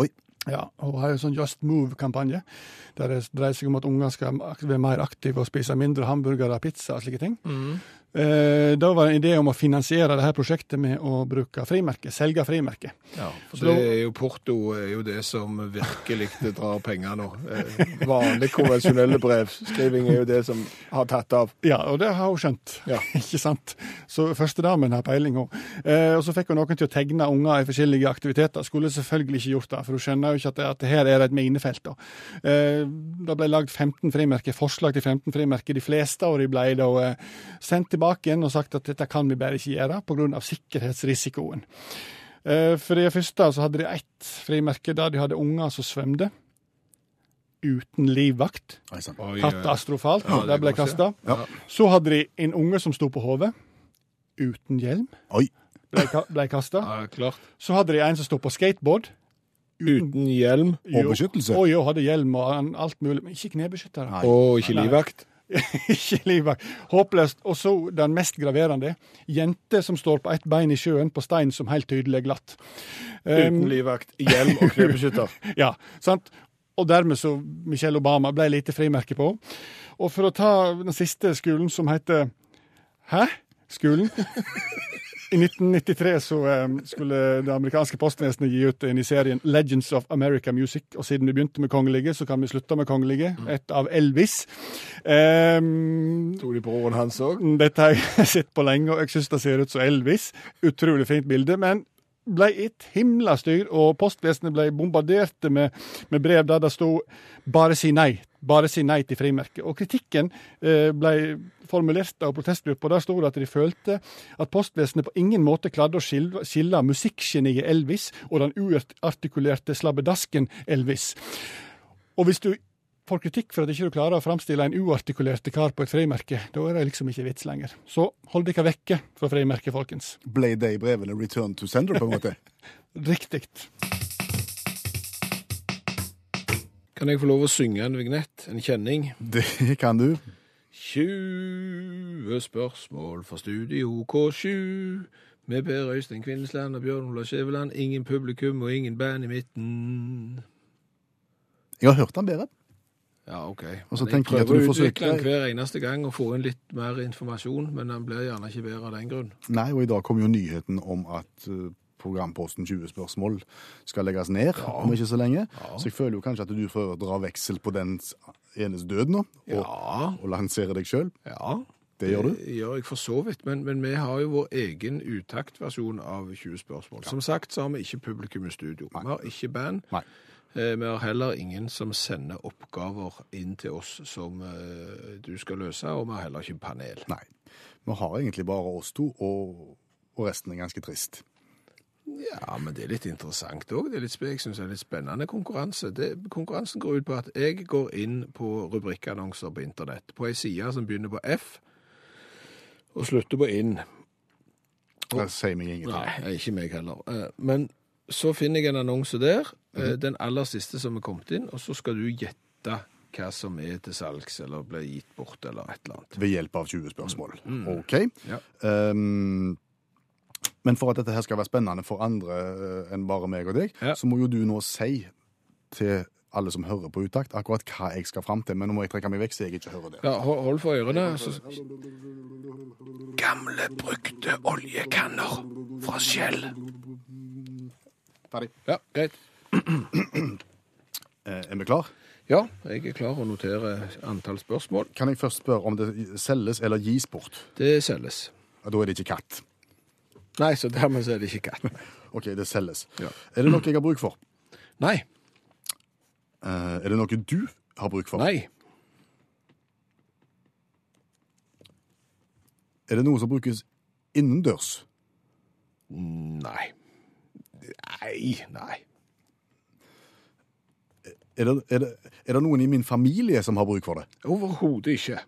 A: Oi.
C: Ja, Hun har jo sånn Just Move-kampanje, der det dreier seg om at unger skal være mer aktive og spise mindre hamburgere, pizza og slike ting. Eh, da var det en idé om å finansiere det her prosjektet med å bruke frimerke, selge frimerke.
B: Ja, for det er jo Porto er jo det som virkelig drar penger nå. Eh,
F: Vanlig konvensjonelle brevskriving er jo det som har tatt av.
C: Ja, og det har hun skjønt.
F: Ja.
C: ikke sant? Så førstedamen har peiling, hun. Eh, og så fikk hun noen til å tegne unger i forskjellige aktiviteter. Skulle selvfølgelig ikke gjort det, for hun skjønner jo ikke at, det, at det her er et minefelt. Da. Eh, det ble lagd 15 frimerker, forslag til 15 frimerker. De fleste av de ble da eh, sendt tilbake igjen og sagt at dette kan vi bare ikke gjøre pga. sikkerhetsrisikoen. Eh, for det første så hadde de ett frimerke der de hadde unger som svømte uten livvakt.
A: Nei, sant.
B: Oi, eh,
C: Katastrofalt.
B: Ja, det
C: det ble
B: går ikke.
C: kasta.
A: Ja.
C: Så hadde de en unge som sto på hodet, uten hjelm,
A: Oi.
C: ble, ka- ble kasta.
B: ja, klart.
C: Så hadde de en som sto på skateboard.
B: Uten hjelm
A: Og beskyttelse.
C: Og jo, hadde hjelm og an- alt mulig, men ikke knebeskyttere.
A: Nei.
B: og ikke livvakt.
C: ikke livvakt. Håpløst. Og så den mest graverende. Jente som står på ett bein i sjøen på stein som helt tydelig er glatt. Um,
F: Uten livvakt, hjelm og knebeskytter.
C: Ja, sant? Og dermed så Michelle Obama ble lite frimerke på. Og for å ta den siste skolen som heter Hæ? Skolen? I 1993 så eh, skulle det amerikanske postvesenet gi ut en i serien Legends of America Music. Og siden vi begynte med kongelige, så kan vi slutte med kongelige. Et av Elvis. Um,
F: Tok de broren hans òg?
C: Mm, dette har jeg sett på lenge, og jeg syns det ser ut som Elvis. Utrolig fint bilde. men ble et himla styr, og postvesenet ble bombardert med, med brev der det sto 'bare si nei'. Bare si nei til frimerket. Og kritikken eh, ble formulert av protestgrupper. Der sto det at de følte at postvesenet på ingen måte klarte å skille, skille musikkgeniet Elvis og den uartikulerte slabbedasken Elvis. Og hvis du får kritikk for at ikke du klarer å framstille en uartikulerte kar på et frimerke, da er det liksom ikke vits lenger. Så hold dere vekke fra frimerket, folkens.
A: Ble de brevene return to sender, på en måte?
C: Riktig.
B: Kan jeg få lov å synge en vignett, en kjenning?
A: Det kan du.
B: 20 spørsmål fra Studio K7. Med Per Øystein Kvindesland og Bjørn Olav Skjæveland. Ingen publikum og ingen band i midten.
A: Jeg har hørt den bedre.
B: Ja, OK.
A: Og så
B: Men jeg
A: tenker jeg at
B: prøver
A: du
B: å
A: forsøker-
B: utvikle den hver eneste gang og få inn litt mer informasjon, men den blir gjerne ikke bedre av den grunn.
A: Nei, og i dag kom jo nyheten om at eh, programposten 20 spørsmål skal legges ned om ikke så lenge. Så jeg føler jo kanskje at du prøver å dra veksel på den enes død nå, og,
B: Ja,
A: og lansere deg sjøl.
B: ja.
A: Det gjør du.
B: Det gjør jeg for så vidt, men, men vi har jo vår egen utaktversjon av 20 spørsmål. Som sagt så har vi ikke publikum i studio. Vi har ikke band.
A: Nei.
B: Eh, Vi har heller ingen som sender oppgaver inn til oss som eh, du skal løse, og vi har heller ikke panel.
A: Nei. Vi har egentlig bare oss to, og, og resten er ganske trist.
B: Ja, men det er litt interessant òg. Det er litt sp- jeg synes det er litt spennende konkurranse. Det, konkurransen går ut på at jeg går inn på rubrikkannonser på internett, på ei side som begynner på F og slutter på inn.
A: Det sier meg ingenting.
B: Nei, ikke meg heller. Eh, Men så finner jeg en annonse der, eh, den aller siste som er kommet inn, og så skal du gjette hva som er til salgs, eller ble gitt bort, eller et eller annet.
A: Ved hjelp av 20 spørsmål. OK.
B: Mm. Ja.
A: Ehm, men for at dette her skal være spennende for andre eh, enn bare meg og deg,
B: Ja.
A: så må jo du nå si til alle som hører på Utakt, akkurat hva jeg skal fram til. Men nå må jeg trekke meg vekk, så jeg ikke hører det.
B: Ja, hold, hold for ørene. Så... Gamle, brukte oljekanner fra Shell.
A: Ferdig.
B: Ja, greit.
A: Eh, er vi klar?
B: Ja, jeg er klar å notere antall spørsmål.
A: Kan jeg først spørre om det selges eller gis bort?
B: Det selges.
A: Ja, Da er det ikke katt.
B: Nei, så dermed så er det ikke katt.
A: OK, det selges.
B: Ja.
A: Er det noe jeg har bruk for?
B: Nei.
A: Eh, er det noe du har bruk for?
B: Nei.
A: Er det noe som brukes innendørs?
B: Nei. Nei. Nei.
A: Er det, er, det, er det noen i min familie som har bruk for det?
B: Overhodet ikke.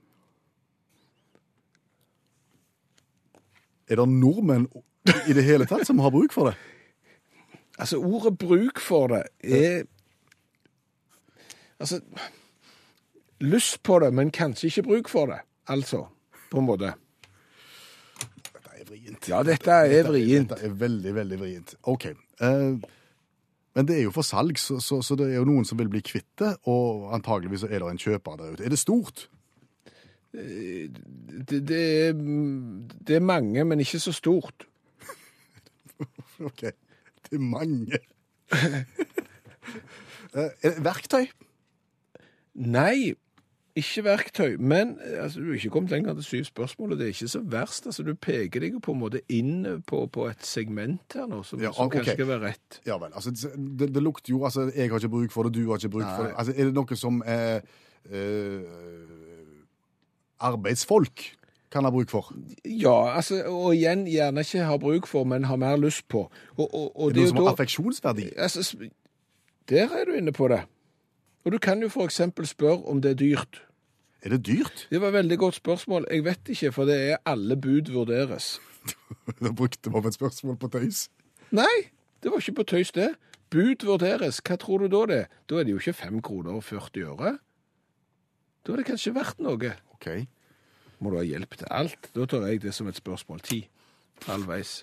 A: Er det nordmenn i det hele tatt som har bruk for det?
B: Altså, ordet bruk for det er Altså Lyst på det, men kanskje ikke bruk for det. Altså, på en måte.
A: Dette er vrient.
B: Ja, dette er vrient.
A: Dette er veldig, veldig vrient. OK. eh, men det er jo for salg, så, så, så det er jo noen som vil bli kvitt det, og antageligvis så er det en kjøper der ute. Er det stort?
B: Det, det, er, det er mange, men ikke så stort.
A: OK. Det er mange. Eh, er det verktøy?
B: Nei, ikke verktøy. Men eh, altså, du er ikke kommet lenger til syv spørsmål, og det er ikke så verst. Altså, du peker deg jo på en måte inn på, på et segment her nå, som,
A: Ja,
B: som
A: ok.
B: kanskje skal være rett.
A: Ja vel. Altså, det, det lukter jo altså, Jeg har ikke bruk for det, du har ikke bruk for det. Altså, er det noe som eh, eh, arbeidsfolk kan ha bruk for?
B: Ja, altså, og igjen gjerne ikke har bruk for, men har mer lyst på. Og, og, og
A: Det er
B: det
A: noe som
B: er
A: har
B: jo da
A: affeksjonsverdi.
B: altså, sp- Der er du inne på det. Og du kan jo f.eks. spørre om det er dyrt.
A: Er det dyrt?
B: Det var et veldig godt spørsmål. Jeg vet ikke, for det er alle bud vurderes.
A: Da brukte vi opp et spørsmål på tøys.
B: Nei, det var ikke på tøys, det. Bud vurderes. Hva tror du da det er? Da er det jo ikke 5 kroner og 40 øre. Da er det kanskje verdt noe.
A: OK. Jeg
B: Må du ha hjelp til alt? Da tar jeg det som et spørsmål. Ti. Halvveis.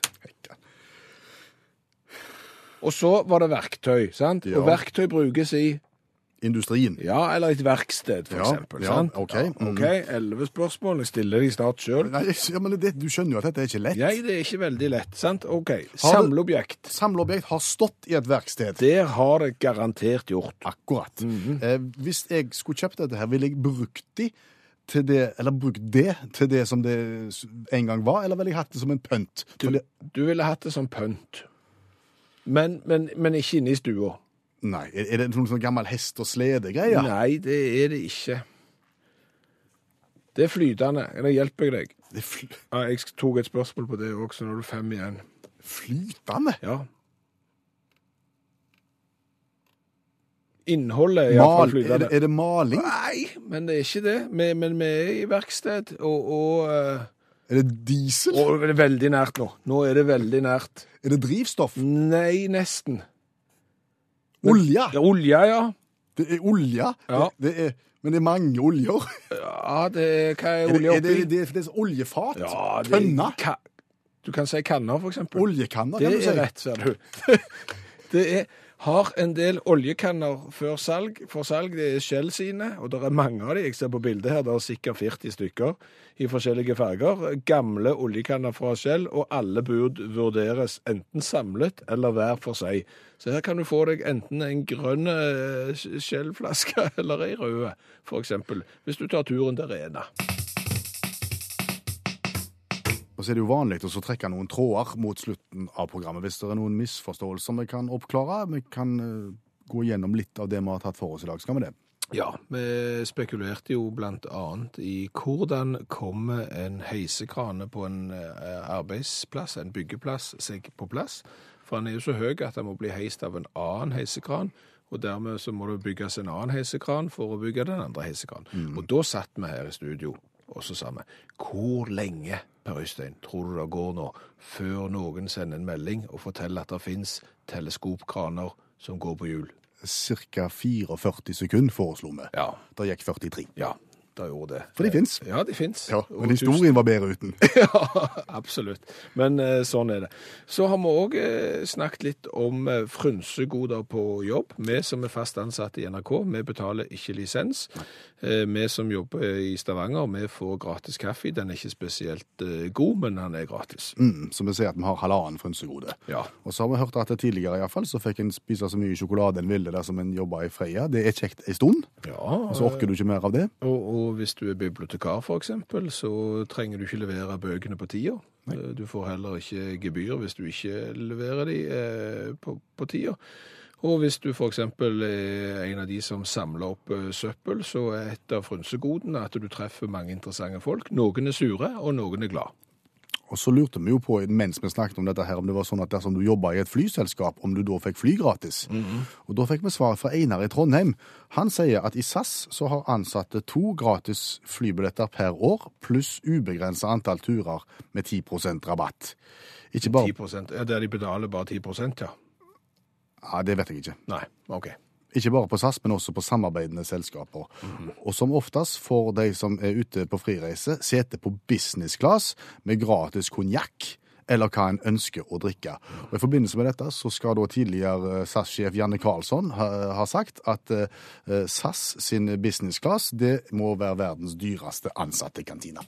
B: Og så var det verktøy, sant?
A: Ja.
B: Og verktøy brukes i
A: Industrien.
B: Ja, eller et verksted, for
A: Ja,
B: eksempel.
A: ja,
B: sant?
A: ok, mm.
B: Ja, ok, Elleve spørsmål. Jeg stiller de snart sjøl.
A: Nei, jeg- ja, men det, du skjønner jo at dette er ikke lett.
B: Nei, det er ikke veldig lett, sant? OK.
A: Har du-
B: Samleobjekt.
A: Samleobjekt har stått i et verksted.
B: Der har det garantert gjort.
A: Akkurat.
B: Mhm.
A: eh, hvis jeg skulle kjøpt dette her, ville jeg brukt de til det, eller brukt det til det som det s- en gang var, eller ville jeg hatt det som en pønt?
B: Du,
A: Fordi-
B: du ville hatt det som pønt. Men, men, men ikke inne i stua.
A: Nei, er er det noen sånn gammel hest- og sledegreier?
B: Nei, det er det ikke. Det er flytende. Det hjelper jeg deg.
A: Det er fl
B: Ja, Ah, jeg tok et spørsmål på det òg, så nå er du fem igjen.
A: flytende?
B: Ja. Innholdet
A: Mal,
B: er iallfall
A: er,
B: flytende.
A: det, er det maling?
B: Nei, men det er ikke det. Vi, men vi er i verksted, og, og, eh,
A: Er det diesel?
B: og det er veldig nært nå. Nå er det veldig nært.
A: Er det drivstoff?
B: Nei, nesten.
A: Olje?
B: Det er olje, Mm. ja.
A: Det er olje.
B: Ja.
A: Det, det er, men det er mange oljer.
B: Ja, det er Hva er
A: Er det,
B: olje
A: er det,
B: oppi?
A: er det, er det oljefat?
B: Ja, det er-
A: Tønner?
B: Ka, du kan si kanner, for eksempel.
A: Oljekanner,
B: det
A: kan du si.
B: er rett, ser du. det er, har en del oljekanner før salg, for salg. Det er Shell sine, og det er mange av de. Jeg ser på bildet her, det er sikkert 40 stykker i forskjellige farger. Gamle oljekanner fra Shell, og alle bud vurderes enten samlet eller hver for seg. Så her kan du få deg enten en grønn eh, Shell-flaske eller ei rød, for eksempel, hvis du tar turen til Rena.
A: Og så er det jo vanlig å så trekke noen tråder mot slutten av programmet hvis det er noen misforståelser vi kan oppklare. Vi kan eh, gå gjennom litt av det vi har tatt for oss i dag. Skal vi det?
B: Ja, vi spekulerte jo blant annet i hvordan kommer en heisekrane på en eh, arbeidsplass, en byggeplass, seg på plass? For han er jo så høy at han må bli heist av en annen heisekran, og dermed så må det bygges en annen heisekran for å bygge den andre heisekranen. Og da satt vi her i studio, og så sa vi, hvor lenge Per Øystein, tror du det går nå, før noen sender en melding og forteller at det finnes teleskopkraner som går på hjul?
A: Cirka 44 sekunder foreslo vi.
B: Ja.
A: Det gikk 43.
B: Ja, det gjorde det.
A: For de finnes.
B: Ja, de fins.
A: Ja, men historien var bedre uten.
B: Ja, absolutt. Men eh, sånn er det. Så har vi òg eh, snakket litt om eh, frynsegoder på jobb. Vi som er fast ansatte i NRK, vi betaler ikke lisens. Eh, vi som jobber i Stavanger, vi får gratis kaffe. Den er ikke spesielt eh, god, men den er gratis.
A: Mm, så vi ser at vi har halvannen frynsegode.
B: Ja.
A: Og så har vi hørt at det tidligere i hvert fall, så fikk en spise så mye sjokolade en ville dersom en jobba i Freia. Det er kjekt ei stund, og så orker du ikke mer av det.
B: Og, og hvis du er bibliotekar, for eksempel, så trenger du ikke levere bøkene på tida. Eh, Du får heller ikke gebyr hvis du ikke leverer de eh, på, på tida. Og hvis du for eksempel er en av de som samler opp eh, søppel, så er et av frynsegodene at du treffer mange interessante folk. Noen er sure, og noen er glad.
A: Og så lurte vi jo på, mens vi snakket om dette her, om det var sånn at dersom du jobba i et flyselskap, om du da fikk fly gratis. Og da fikk vi svar fra Einar i Trondheim. Han sier at i SAS så har ansatte to gratis flybilletter per år, pluss ubegrensa antall turer med 10 rabatt. Ikke bare
B: 10 ja, Der de betaler bare 10 ja.
A: Ja, det vet jeg ikke.
B: Nei, OK.
A: Ikke bare på SAS, men også på samarbeidende selskaper. Og som oftest får de som er ute på frireise, sete på business class med gratis konjakk, eller hva en ønsker å drikke. Og I forbindelse med dette så skal da tidligere eh, SAS-sjef Janne Karlsson ha, ha sagt at eh, SAS sin business class det må være verdens dyreste ansatte kantina.